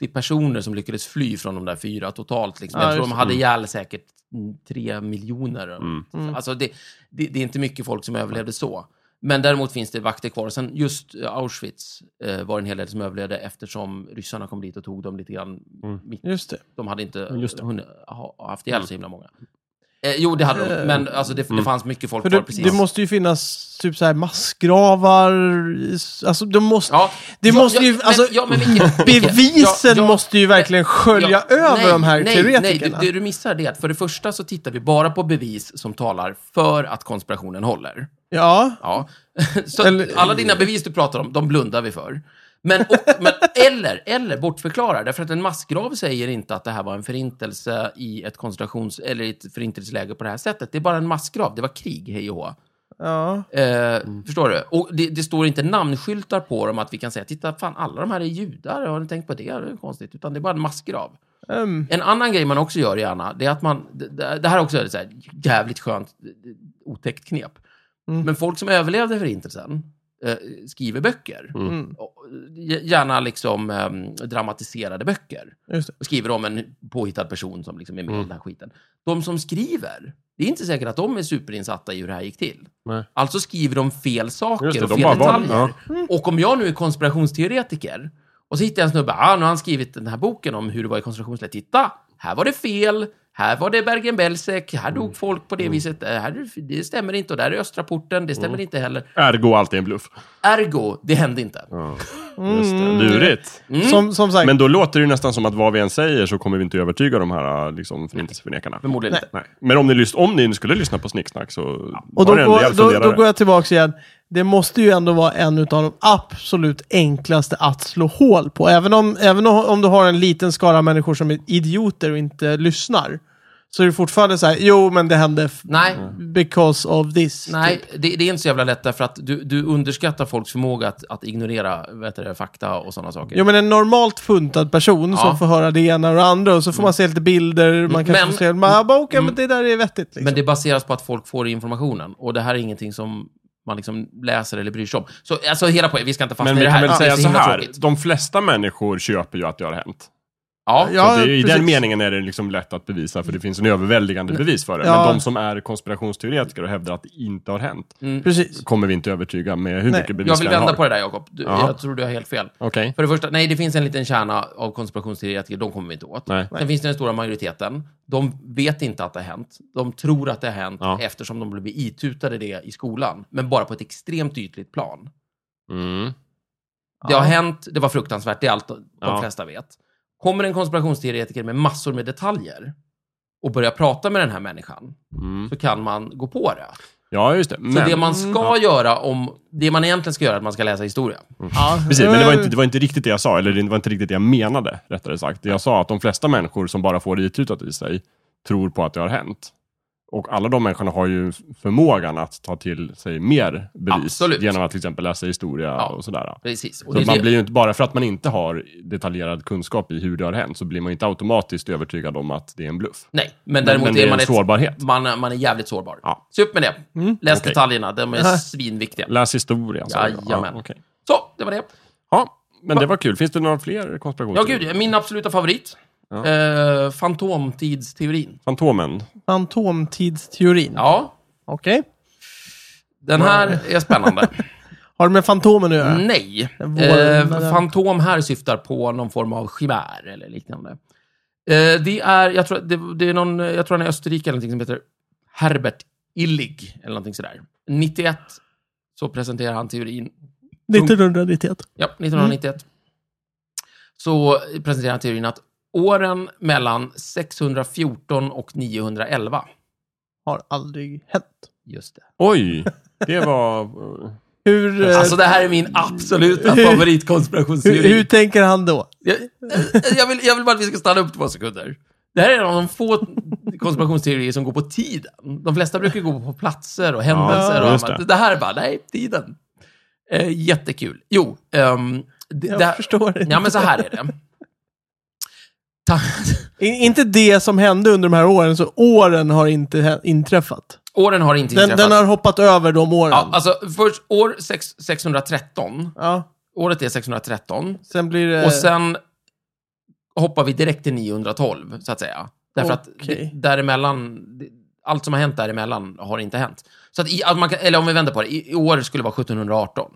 S2: 80 personer som lyckades fly från de där fyra totalt. Liksom.
S1: Ja,
S2: jag tror
S1: just
S2: de hade ihjäl säkert mm, tre miljoner.
S1: Mm.
S2: Alltså det, det, det är inte mycket folk som överlevde så. Men däremot finns det vakter kvar. Sen just eh, Auschwitz eh, var en hel del som överlevde eftersom ryssarna kom dit och tog dem lite grann. mitt.
S1: Just det.
S2: De hade inte
S3: just det.
S2: hunnit ha, haft ihjäl så himla många. Eh, jo, det hade de. Men alltså, det, det fanns mycket folk
S1: Äh. För
S2: kvar
S1: det,
S2: precis.
S1: det måste ju finnas typ så här massgravar. Alltså, de måste...
S2: Ja.
S1: Det
S2: Ja,
S1: måste
S2: ja,
S1: ju...
S2: men-
S1: alltså,
S2: ja, men Micke, Micke,
S1: Bevisen
S2: ja, ja,
S1: måste ju verkligen skölja
S2: ja,
S1: över
S2: nej,
S1: de här
S2: nej,
S1: teoretikerna.
S2: Nej, det, det du missar det är att för det första så tittar vi bara på bevis som talar för att konspirationen håller.
S1: Ja.
S2: Ja. Så
S1: Eller-
S2: alla dina bevis du pratar om, de blundar vi för. Men, och, men eller, eller bortförklarar, därför att en massgrav säger inte att det här var en förintelse i ett koncentrations eller i ett förintelseläger på det här sättet. Det är bara en massgrav, det var krig, hej och hå.
S1: ja.
S2: Eh,
S1: Mm.
S2: Förstår du? Och det, det står inte namnskyltar på dem att vi kan säga, titta, fan, alla de här är judar, har ni tänkt på det? Det är konstigt, utan det är bara en massgrav.
S1: ehm,
S2: En annan grej man också gör gärna, det är att man, det- det, det här också är ett så här jävligt skönt, eh, otäckt knep.
S1: Mm.
S2: Men folk som överlevde förintelsen eh, skriver böcker.
S1: mm,
S2: Och, eh, Gärna liksom eh, dramatiserade böcker.
S1: just det.
S2: Och skriver om en påhittad person som liksom är med i
S3: Mm.
S2: den här skiten. De som skriver, det är inte säkert att de är superinsatta i hur det här gick till.
S3: Nej.
S2: Alltså skriver de fel saker
S3: Just det,
S2: och
S3: de bara
S2: fel
S3: var-
S2: detaljer. Och om jag nu är konspirationsteoretiker och så hittar jag en snubbe, ah, nu har han skrivit den här boken om hur det var i koncentrationsläger. Titta, här var det fel, här var det Bergen-Belzec, här
S3: Mm.
S2: dog folk på det viset, eh, här, det stämmer inte, och där är Östraporten, det
S3: Mm.
S2: stämmer inte heller.
S3: Ergo alltid en bluff.
S2: Ergo, det hände inte.
S1: Mm.
S3: Just det. Lurigt.
S2: Mm.
S1: Som, som sagt,
S3: Men då låter det ju nästan som att vad vi än säger så kommer vi inte övertyga de här liksom, förintelseförnekarna.
S2: Förmodligen inte.
S3: Nej. Men om ni, lys- om ni skulle lyssna på Snicksnack så
S1: och då,
S3: var det en
S1: går,
S3: rejäl
S1: då, då
S3: funderare.
S1: går jag tillbaka igen. Det måste ju ändå vara en av de absolut enklaste att slå hål på. Även om, även om- om du har en liten skara människor som är idioter och inte lyssnar. Så är det fortfarande så här, jo men det hände f-
S2: Nej,
S3: Mm.
S1: because of this.
S2: nej
S3: typ.
S2: det, det är inte så jävla lätt därför att du, du underskattar folks förmåga att, att ignorera vet du, det, fakta och sådana saker.
S1: Jo men en normalt funtad person
S2: Ja. Mm.
S1: som får höra det ena och det andra och så får man se lite bilder, man kanske
S2: Men- Mm.
S1: får se, man bara okej men det där är vettigt liksom.
S2: Men det baseras på att folk får informationen och det här är ingenting som man liksom läser eller bryr sig om. Så alltså hela poängen, vi ska inte fastna
S3: Men
S2: i
S3: vi
S2: det här.
S3: kan väl
S2: det är
S3: säga så
S2: himla
S3: här,
S2: tråkigt.
S3: de flesta människor köper ju att det har hänt.
S2: Ja,
S1: Ja,
S3: så det, är- I
S1: precis.
S3: den meningen är det liksom lätt att bevisa, för det finns en överväldigande bevis för det.
S1: Ja.
S3: Men de som är konspirationsteoretiker och hävdar att det inte har hänt,
S1: Precis.
S3: kommer vi inte övertyga med hur
S1: Nej.
S3: mycket
S2: jag
S3: bevis vi
S2: vill
S3: än
S2: vända
S3: har.
S2: på det där Jakob. Du-
S3: Ja.
S2: Jag tror du har helt fel.
S3: Okej.
S2: För det första, nej, det finns en liten kärna av konspirationsteoretiker, de kommer vi inte åt.
S3: Nej.
S2: Sen finns det den stora majoriteten. De vet inte att det har hänt. De tror att det har hänt
S3: Ja.
S2: eftersom de blev itutade det i skolan, men bara på ett extremt ytligt plan.
S3: Mm.
S2: Det har hänt, det var fruktansvärt, det är allt de
S3: Ja.
S2: flesta vet. Kommer en konspirationsteoretiker med massor med detaljer och börjar prata med den här människan,
S3: Mm.
S2: så kan man gå på det.
S3: Ja, just det. Men,
S2: Så det man ska göra om, det man egentligen ska göra är att man ska läsa historia.
S1: Ja.
S3: Precis, men det var,
S2: Mm.
S3: inte, det var inte riktigt det jag sa, eller det var inte riktigt det jag menade, rättare sagt. Det jag sa att de flesta människor som bara får det itutat i sig, tror på att det har hänt. Och alla de människorna har ju förmågan att ta till sig mer bevis.
S2: Absolut.
S3: Genom att till exempel läsa historia
S2: Ja.
S3: och sådär.
S2: Precis. Och
S3: Så
S2: det är
S3: man
S2: det-
S3: blir ju inte, bara för att man inte har detaljerad kunskap i hur det har hänt, så blir man ju inte automatiskt övertygad om att det är en bluff.
S2: Nej, men däremot
S3: men det är
S2: är man
S3: en sårbarhet.
S2: Man, man är jävligt sårbar.
S3: Ja. Mm.
S2: Så upp med det. Läs
S3: Okej.
S2: detaljerna, de är
S1: Aha.
S2: svinviktiga.
S3: Läs historia. sa jag.
S2: Jajamän.
S3: Ja, okej.
S2: Så, det var det.
S3: ja, men det var kul. Finns det några fler
S2: Ja,
S3: konspirationer?
S2: gud, min absoluta favorit.
S3: Ja.
S2: Eh, fantomtidsteorin.
S3: Fantomen.
S1: Fantomtidsteorin.
S2: Ja,
S1: Okej.
S2: den här är spännande.
S1: Har det med Fantomen att göra?
S2: Mm. Nej.
S1: Vålnaden.
S2: Eh, fantom här syftar på någon form av chimär eller liknande. Eh, det är, jag tror, det, det är någon, jag tror han är Österrike eller någonting som heter Herbert Illig eller någonting sådär. 91 så presenterar han teorin
S1: 1991.
S2: Ja, 1991.
S1: Mm.
S2: Så presenterar han teorin att åren mellan 614 och 911,
S1: Har aldrig hänt.
S2: just det.
S3: Oj, det var...
S1: Hur, eh,
S2: Alltså det här är min absoluta
S1: Hur-
S2: favoritkonspirationsteori.
S1: hur, hur tänker han då?
S2: Jag, eh, jag, vill, jag vill bara att vi ska stanna upp två sekunder. Det här är en av de få konspirationsteorier som går på tiden. De flesta brukar gå på platser och händelser.
S3: Ja,
S2: och
S3: just
S2: annat.
S3: det.
S2: det här är bara, nej, tiden. Eh, jättekul. Jo, ehm, det,
S1: Jag
S2: det här,
S1: förstår inte.
S2: Ja, men så här är det. Ta-
S1: I- Inte det som hände under de här åren, så åren har inte hä- inträffat.
S2: Åren har inte
S1: Den,
S2: inträffat.
S1: den har hoppat över de åren.
S2: ja,
S1: Ja,
S2: alltså, först år sex, 613. Året är 613.
S1: Sen blir det...
S2: Och sen hoppar vi direkt till 912, så att säga. Därför att
S1: Okej.
S2: det- däremellan, det- allt som har hänt däremellan har inte hänt. Så att, i, att man kan, eller om vi vänder på det, i, i år skulle det vara 1718.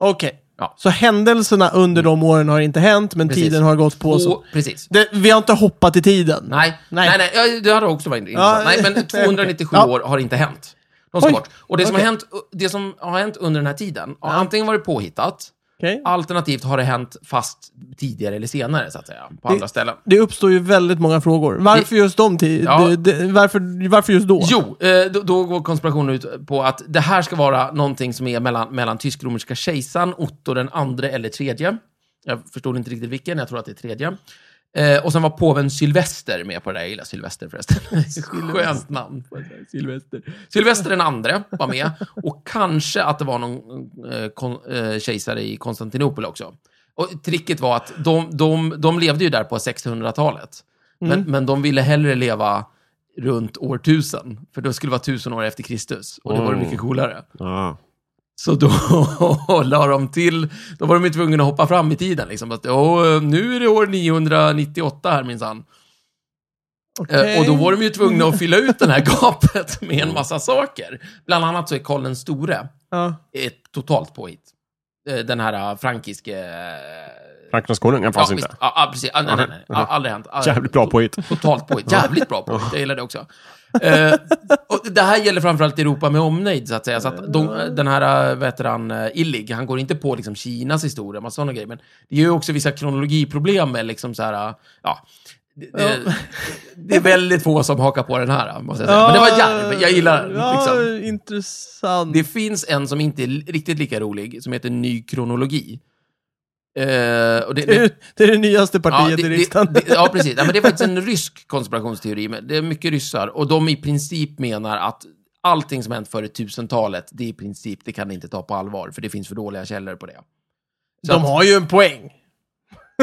S1: Okej.
S2: Ja.
S1: Så händelserna under de åren har inte hänt, men
S2: Precis.
S1: tiden har gått på. Så.
S2: Och, precis.
S1: Det, vi har inte hoppat i tiden.
S2: Nej,
S1: Nej.
S2: nej, nej, ja, det hade också varit intressant.
S1: Ja,
S2: nej, men 297
S1: Ja.
S2: år har inte hänt. De ska
S1: Oj.
S2: bort. Och det som,
S1: Okej.
S2: har hänt, det som har hänt under den här tiden, har antingen varit påhittat,
S1: Okej.
S2: alternativt har det hänt fast tidigare eller senare, så att säga, på andra ställen.
S1: Det uppstår ju väldigt många frågor. Varför just de ti-
S2: Ja.
S1: det- det- varför, varför just då?
S2: Jo, eh, då, då går konspirationen ut på att det här ska vara någonting som är mellan, mellan tysk-romerska kejsaren, Otto den andre eller tredje. Jag förstod inte riktigt vilken, jag tror att det är tredje. Eh, och sen var påven Sylvester med på det där. Jag gillar Sylvester förresten. Skönt namn. Sylvester. Sylvester den andre var med. Och kanske att det var någon eh, kon, eh, kejsare i Konstantinopel också. Och tricket var att de, de, de levde ju där på 1600-talet. Men, men de ville hellre leva runt år 1000. För då skulle det vara 1000 år efter Kristus. Och det var det
S3: Oh.
S2: mycket coolare.
S3: Ah.
S2: Så då la de till, då var de ju tvungna att hoppa fram i tiden. Liksom. Att, "Åh, nu är det år 998 här minsann. Eh,
S1: Okej.
S2: Och då var de ju tvungna att fylla ut det här gapet med en massa saker. Bland annat så är Karl den store
S1: Ja.
S2: ett totalt påhitt. Eh, Den här eh, frankiske... eh,
S3: Frankrikes konung, han fanns
S2: ja,
S3: inte.
S2: visst. Ja, ja, precis. Ja, nej, nej, nej. Ja, Aldrig hänt. Ja,
S3: Jävligt bra påhitt.
S2: Totalt påhitt. Jävligt bra påhitt. Jag gillar det också. Eh, och det här gäller framförallt Europa med omnejd, så att säga. Så att de, den här, eh, vad heter han, eh, Illig, han går inte på liksom, Kinas historia, massa sådana grejer. Men det är ju också vissa kronologiproblem med liksom så här, eh, ja. Det, det, det är väldigt få som hakar på den här, eh, måste jag säga. Men det var jävligt, jag gillar den.
S1: Ja,
S2: Liksom.
S1: intressant.
S2: Det finns en som inte är li- riktigt lika rolig, som heter Ny kronologi. Eh, och det,
S1: Det är, det är det nyaste partiet
S2: det-
S1: i
S2: det-
S1: riksdagen.
S2: Det, ja, precis. Nej, men det är faktiskt en rysk konspirationsteori. Men det är mycket ryssar. Och de i princip menar att allting som hänt före 1000-talet, det är i princip, det kan ni inte ta på allvar, för det finns för dåliga källor på det. Så
S1: de
S2: att,
S1: har ju en poäng.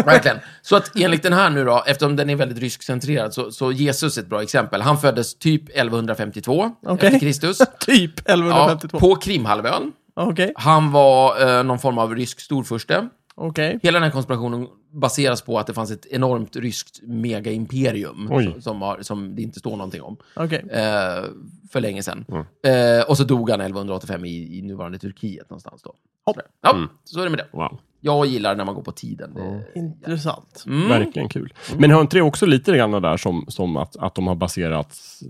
S2: Verkligen. Så att enligt den här nu då, eftersom den är väldigt ryskcentrerad, så, så Jesus är ett bra exempel. Han föddes typ 1152
S1: Okej.
S2: efter Kristus.
S1: Typ
S2: Ja,
S1: 1152.
S2: på Krimhalvön.
S1: Okej,
S2: Han var eh, någon form av rysk storfurste.
S1: okej.
S2: Hela den här konspirationen baseras på att det fanns ett enormt ryskt megaimperium
S3: Oj.
S2: som, som, har, som det inte står någonting om
S1: Okej. Mm.
S2: eh, för länge sedan. Eh, och så dog han 1185 i, i nuvarande Turkiet någonstans då.
S1: Hopp. Mm.
S2: Ja, så är det med det.
S3: Wow.
S2: Jag gillar när man går på tiden. Eh, Det,
S1: Intressant.
S2: Mm.
S3: Verkligen kul.
S1: Mm.
S3: Men har inte det också lite grann där som, som att, att de har baserats,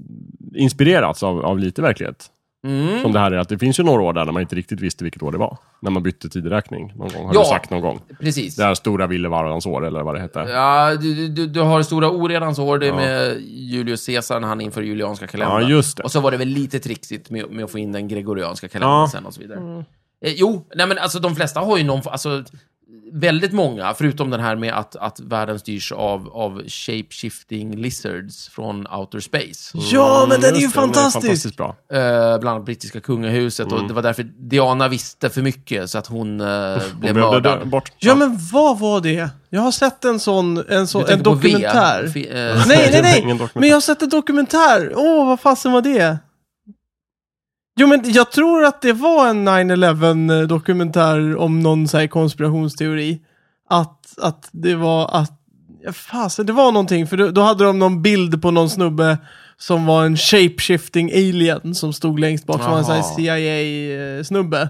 S3: inspirerats av, av lite verklighet?
S1: Mm.
S3: Som det här är att det finns ju några år där när man inte riktigt visste vilket år det var. När man bytte tideräkning någon gång, har
S2: Ja.
S3: du sagt någon gång.
S2: Precis.
S3: Det här stora Villevarans år eller vad det hette.
S2: Ja, du, du- du, du har stora oredans år, det är med Julius Caesar när han inför julianska kalendern.
S3: Ja, just det.
S2: Och så var det väl lite trixigt med, med att få in den gregorianska kalendern
S3: Ja.
S2: sen och så vidare.
S1: Mm.
S2: Eh, jo, nej men alltså de flesta har ju någon, alltså väldigt många, förutom den här med att, att världen styrs av, av shape-shifting lizards från outer space.
S3: Mm.
S1: Ja, men den är
S3: Just
S1: ju
S3: det, den
S1: fantastisk!
S3: fantastiskt bra.
S2: Eh, bland annat brittiska kungahuset
S3: Mm.
S2: och det var därför Diana visste för mycket så att hon eh,
S3: behövde
S2: blev mördad.
S3: dö- bort.
S1: Ja, men vad var det? Jag har sett en sån, en sån, en
S2: tänker på V,
S1: dokumentär.
S2: fi- eh,
S1: Nej, nej,
S3: Ingen
S1: nej!
S3: dokumentär.
S1: Men jag har sett en dokumentär. Åh, vad fasen var det? Jo, men jag tror att det var en 9-11 dokumentär om någon så här konspirationsteori. Att, att det var att... ja, Fasen, det var någonting. För då, då hade de någon bild på någon snubbe som var en shape-shifting alien som stod längst bak. Som var en sån här
S2: Jaha.
S1: CIA-snubbe.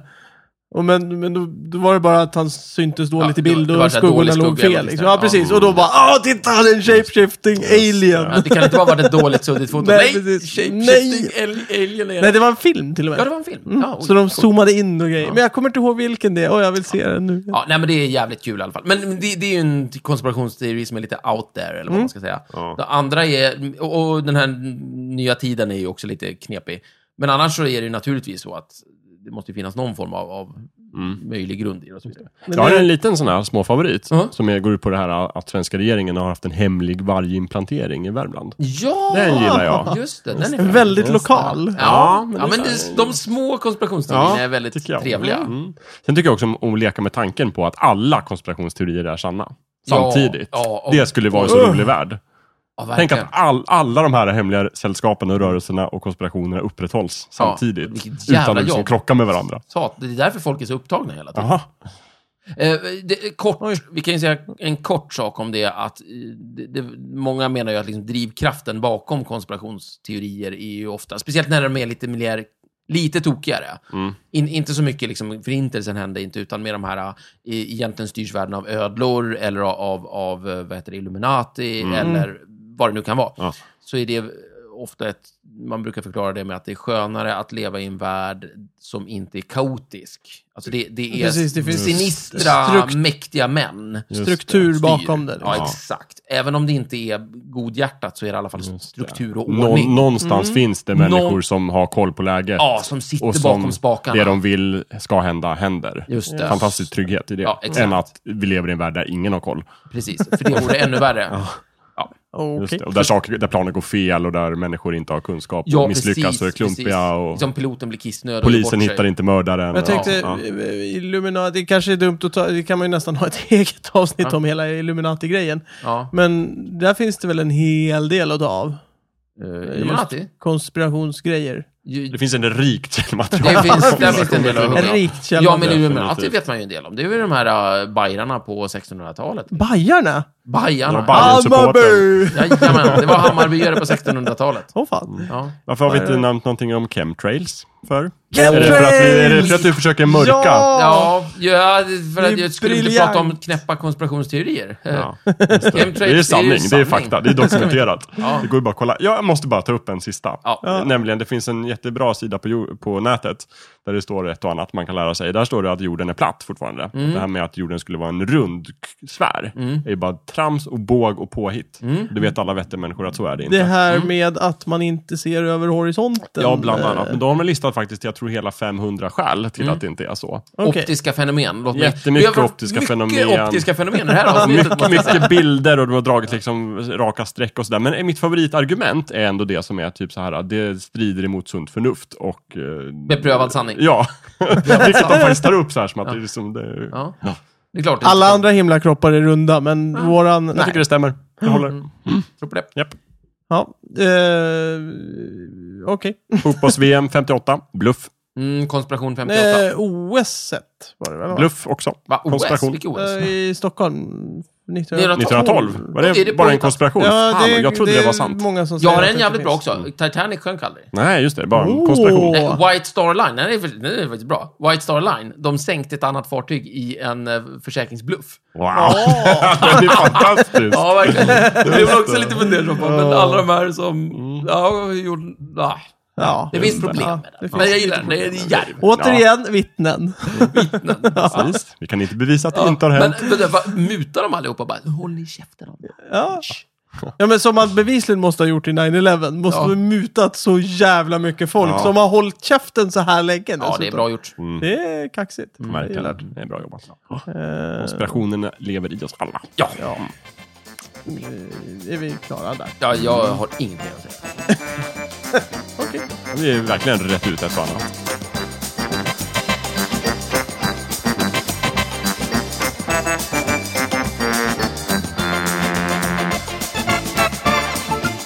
S1: Och men men då, då var det bara att han syntes dåligt i
S2: det var-
S1: bild
S2: det var
S1: och
S2: så här dålig
S1: skuggorna låg
S2: skugga,
S1: fel.
S2: liksom.
S1: Liksom. Ja,
S2: Ja.
S1: precis. Och då bara Åh, titta! Han är en shape-shifting alien!
S2: Ja, det kan inte bara vara ett dåligt suddigt foto.
S1: Nej,
S2: Nej,
S1: precis.
S2: shapeshifting al- alien är...
S1: Nej, det var en film till och med.
S2: Ja, det var en film. Ja, oj.
S1: Så de zoomade in och grejer. Men jag kommer inte ihåg vilken det är. Åh, jag vill se den nu.
S2: ja, nej, men det är jävligt kul i alla fall. Men men det, det är ju en konspirationsteori som är lite out there, eller vad man ska säga.
S3: Ja.
S2: Det andra är, och och den här nya tiden är ju också lite knepig. Men annars så är det ju naturligtvis så att det måste ju finnas någon form av, av möjlig grund i det och så vidare.
S1: Men
S3: Jag har
S1: det-
S3: en liten sån här småfavorit
S2: Ja.
S3: som är, går ut på det här att svenska regeringen har haft en hemlig varginplantering i Värmland.
S2: Ja!
S3: Den gillar jag.
S2: Just det, den är bra.
S1: Väldigt lokal.
S2: Ja, ja,
S3: men
S2: men,
S3: det-
S2: det, de små konspirationsteorierna är väldigt
S3: tycker jag.
S2: trevliga.
S3: Mm. Sen tycker jag också om om att leka med tanken på att alla konspirationsteorier är sanna.
S2: Ja,
S3: Samtidigt.
S2: ja, och-
S3: det skulle vara en så
S1: Ugh.
S3: rolig värld.
S2: Ja,
S3: Tänk
S2: verkligen.
S3: att all, alla de här hemliga sällskapen och rörelserna och konspirationerna upprätthålls samtidigt.
S2: vilket jävla
S3: Utan att liksom
S2: jobb.
S3: krocka med varandra.
S2: Sat, det är därför folk är så upptagna hela tiden.
S3: Jaha.
S2: Eh, det, kort, vi kan ju säga en kort sak om det att eh, det, det, många menar ju att liksom drivkraften bakom konspirationsteorier är ju ofta, speciellt när de är lite mer Lite tokigare.
S3: Mm.
S2: In, inte så mycket liksom, förintelsen hände inte, utan mer de här, äh, e- egentligen styrs världen av ödlor eller av, av eh, vad heter det, Illuminati eller vad det nu kan vara.
S3: Mm. Ja.
S2: Så är det eh, ofta ett, man brukar förklara det med att det är skönare att leva i en värld som inte är kaotisk. Alltså det, det är
S1: Precis, det finns
S2: sinistra,
S1: strukt-
S2: mäktiga män.
S3: Just
S1: Struktur
S2: styr.
S1: bakom det.
S2: Ja,
S1: liksom.
S2: exakt. Även om det inte är godhjärtat så är det i alla fall struktur och
S3: Nå,
S2: ordning.
S3: någonstans finns det
S2: Någon-
S3: människor som har koll på läget.
S2: Ja, som sitter
S3: och som
S2: bakom spakarna.
S3: det de vill ska hända händer.
S2: Just det.
S3: Fantastisk trygghet i det.
S2: Ja, exakt.
S3: Än att vi lever i en värld där ingen har koll.
S2: Precis, för det vore ännu värre.
S1: Okej.
S3: Just det. Och där, saker, där planer går fel och där människor inte har kunskap och misslyckas och är klumpiga. Och
S2: Liksom piloten blir kissnödig
S3: Polisen hittar inte mördaren.
S1: Jag tänkte,
S3: Ja, ja.
S1: eh, Illuminati, det kanske är dumt att ta, det kan man ju nästan ha ett eget avsnitt om hela Illuminati-grejen.
S2: Ja.
S1: Men där finns det väl en hel del att ta av.
S2: Eh, Illuminati?
S1: Konspirationsgrejer.
S2: Ju-
S3: Det finns en rikt material.
S2: Det finns, där finns det en del av
S1: En rikt källa.
S2: Ja, men Illuminati
S3: Definitivt.
S2: vet man ju en del om. Det är väl de här äh, bajrarna på 1600-talet.
S1: Bajarna?
S2: Bajarna.
S3: Ja, Bajen-
S1: Ah,
S3: supporten.
S1: babber!
S2: Jajamän, det var Hammarbyare på 1600-talet.
S1: Åh fan.
S2: Ja.
S3: Varför har vi
S1: Ja,
S2: Eh.
S3: inte
S1: ja.
S3: nämnt någonting om chemtrails? För? Är,
S1: Chemtrails!
S3: det för att vi, är det för att du försöker mörka?
S1: Ja!
S2: Ja, ja för
S1: Det är
S2: att jag skulle inte
S1: briljant.
S2: prata om knäppa konspirationsteorier. Eh,
S3: Ja, just det.
S2: Chemtrails,
S3: det är sanning, det är,
S2: sanning.
S3: fakta, det är dokumenterat.
S2: Ja.
S3: Det går ju bara att kolla. Jag måste bara ta upp en sista.
S2: Ja.
S3: Eh, Nämligen, det finns en jättebra sida på, jor- på nätet där det står ett och annat man kan lära sig. Där står det att jorden är platt fortfarande. Det här med att jorden skulle vara en rund k- sfär är ju bara trams och båg och påhitt. Det vet alla vettemänniskor att så är det inte.
S1: Det här med att man inte ser över horisonten.
S3: Ja, bland annat.
S1: Eh,
S3: Men då har man listat faktiskt, jag tror hela 500 skäl till att det inte är så.
S1: Okej.
S2: Optiska fenomen. Låt mig.
S3: Jättemycket
S2: Vi har varit
S3: optiska
S2: mycket
S3: fenomen.
S2: optiska fenomen i det här
S3: Och
S2: avsnittet.
S3: mycket, mycket bilder och du har dragit liksom raka streck och sådär. Men mitt favoritargument är ändå det som är typ så här, att det strider emot sunt förnuft och... eh,
S2: Beprövad sanning.
S3: Ja, vilket de faktiskt tar upp så här som att det är liksom... Det,
S2: Ja. Det är klart. det
S1: Alla
S2: inte-
S1: andra himlakroppar är runda, men våran...
S3: Jag
S1: Nej.
S3: tycker det stämmer. Det
S2: Mm.
S3: håller.
S2: Tror på det.
S3: Japp.
S1: Ja. Eh, Okej.
S3: Fotbolls-VM 58, bluff.
S2: Mm, konspiration 58.
S1: Eh, OS -et var det väl? va?
S3: Bluff också.
S2: Va? OS?
S3: konspiration.
S2: Vilket OS?
S1: Eh, I Stockholm.
S2: 1912.
S3: 1912, var det,
S2: Är det
S3: bara en
S2: påhittat?
S3: konspiration? Fan, jag trodde det, var sant.
S1: är många som
S2: Jag
S1: säger
S2: har
S1: att
S2: en
S1: det
S2: jävligt bra
S1: finns.
S2: också. Titanic sjönk aldrig.
S3: Nej, just det, bara en
S1: Oh.
S3: konspiration.
S2: Nej,
S1: Åh.
S2: White Star Line, den är, för- den är faktiskt bra. White Star Line, de sänkte ett annat fartyg i en eh, försäkringsbluff.
S3: Wow! det är fantastiskt!
S2: Ja, verkligen. Det blev man också lite fundersam på, men alla de här som... Ja, gjorde... Ah,
S1: Ja.
S2: det finns problem med
S1: det
S2: det.
S1: finns
S2: Men jag gillar den, det är djärvt.
S1: Återigen, vittnen.
S3: Precis. Vi kan inte bevisa att det inte har
S2: Men,
S3: hänt.
S2: men det var- mutar de allihopa bara, håll i käften om det.
S1: Ja. ja, men som man bevisligen måste ha gjort i 9-11. Måste
S2: Ja.
S1: ha mutat så jävla mycket folk som har hållit käften så här länge
S2: Ja, det är
S1: dessutom.
S2: bra gjort.
S1: Det är kaxigt.
S3: Mm. Verkligen. Mm. Det är Eh. bra jobbat. Konspirationerna lever i oss alla.
S2: Ja,
S1: Är vi klara där?
S2: ja jag har inget mer att säga.
S3: Vi är verkligen rätt ut ett och annat.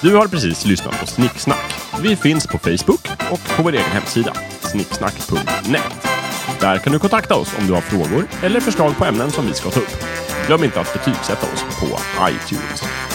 S3: Du har precis lyssnat på Snicksnack. Vi finns på Facebook och på vår egen hemsida, snicksnack.net. Där kan du kontakta oss om du har frågor eller förslag på ämnen som vi ska ta upp. Glöm inte att betygsätta oss på iTunes.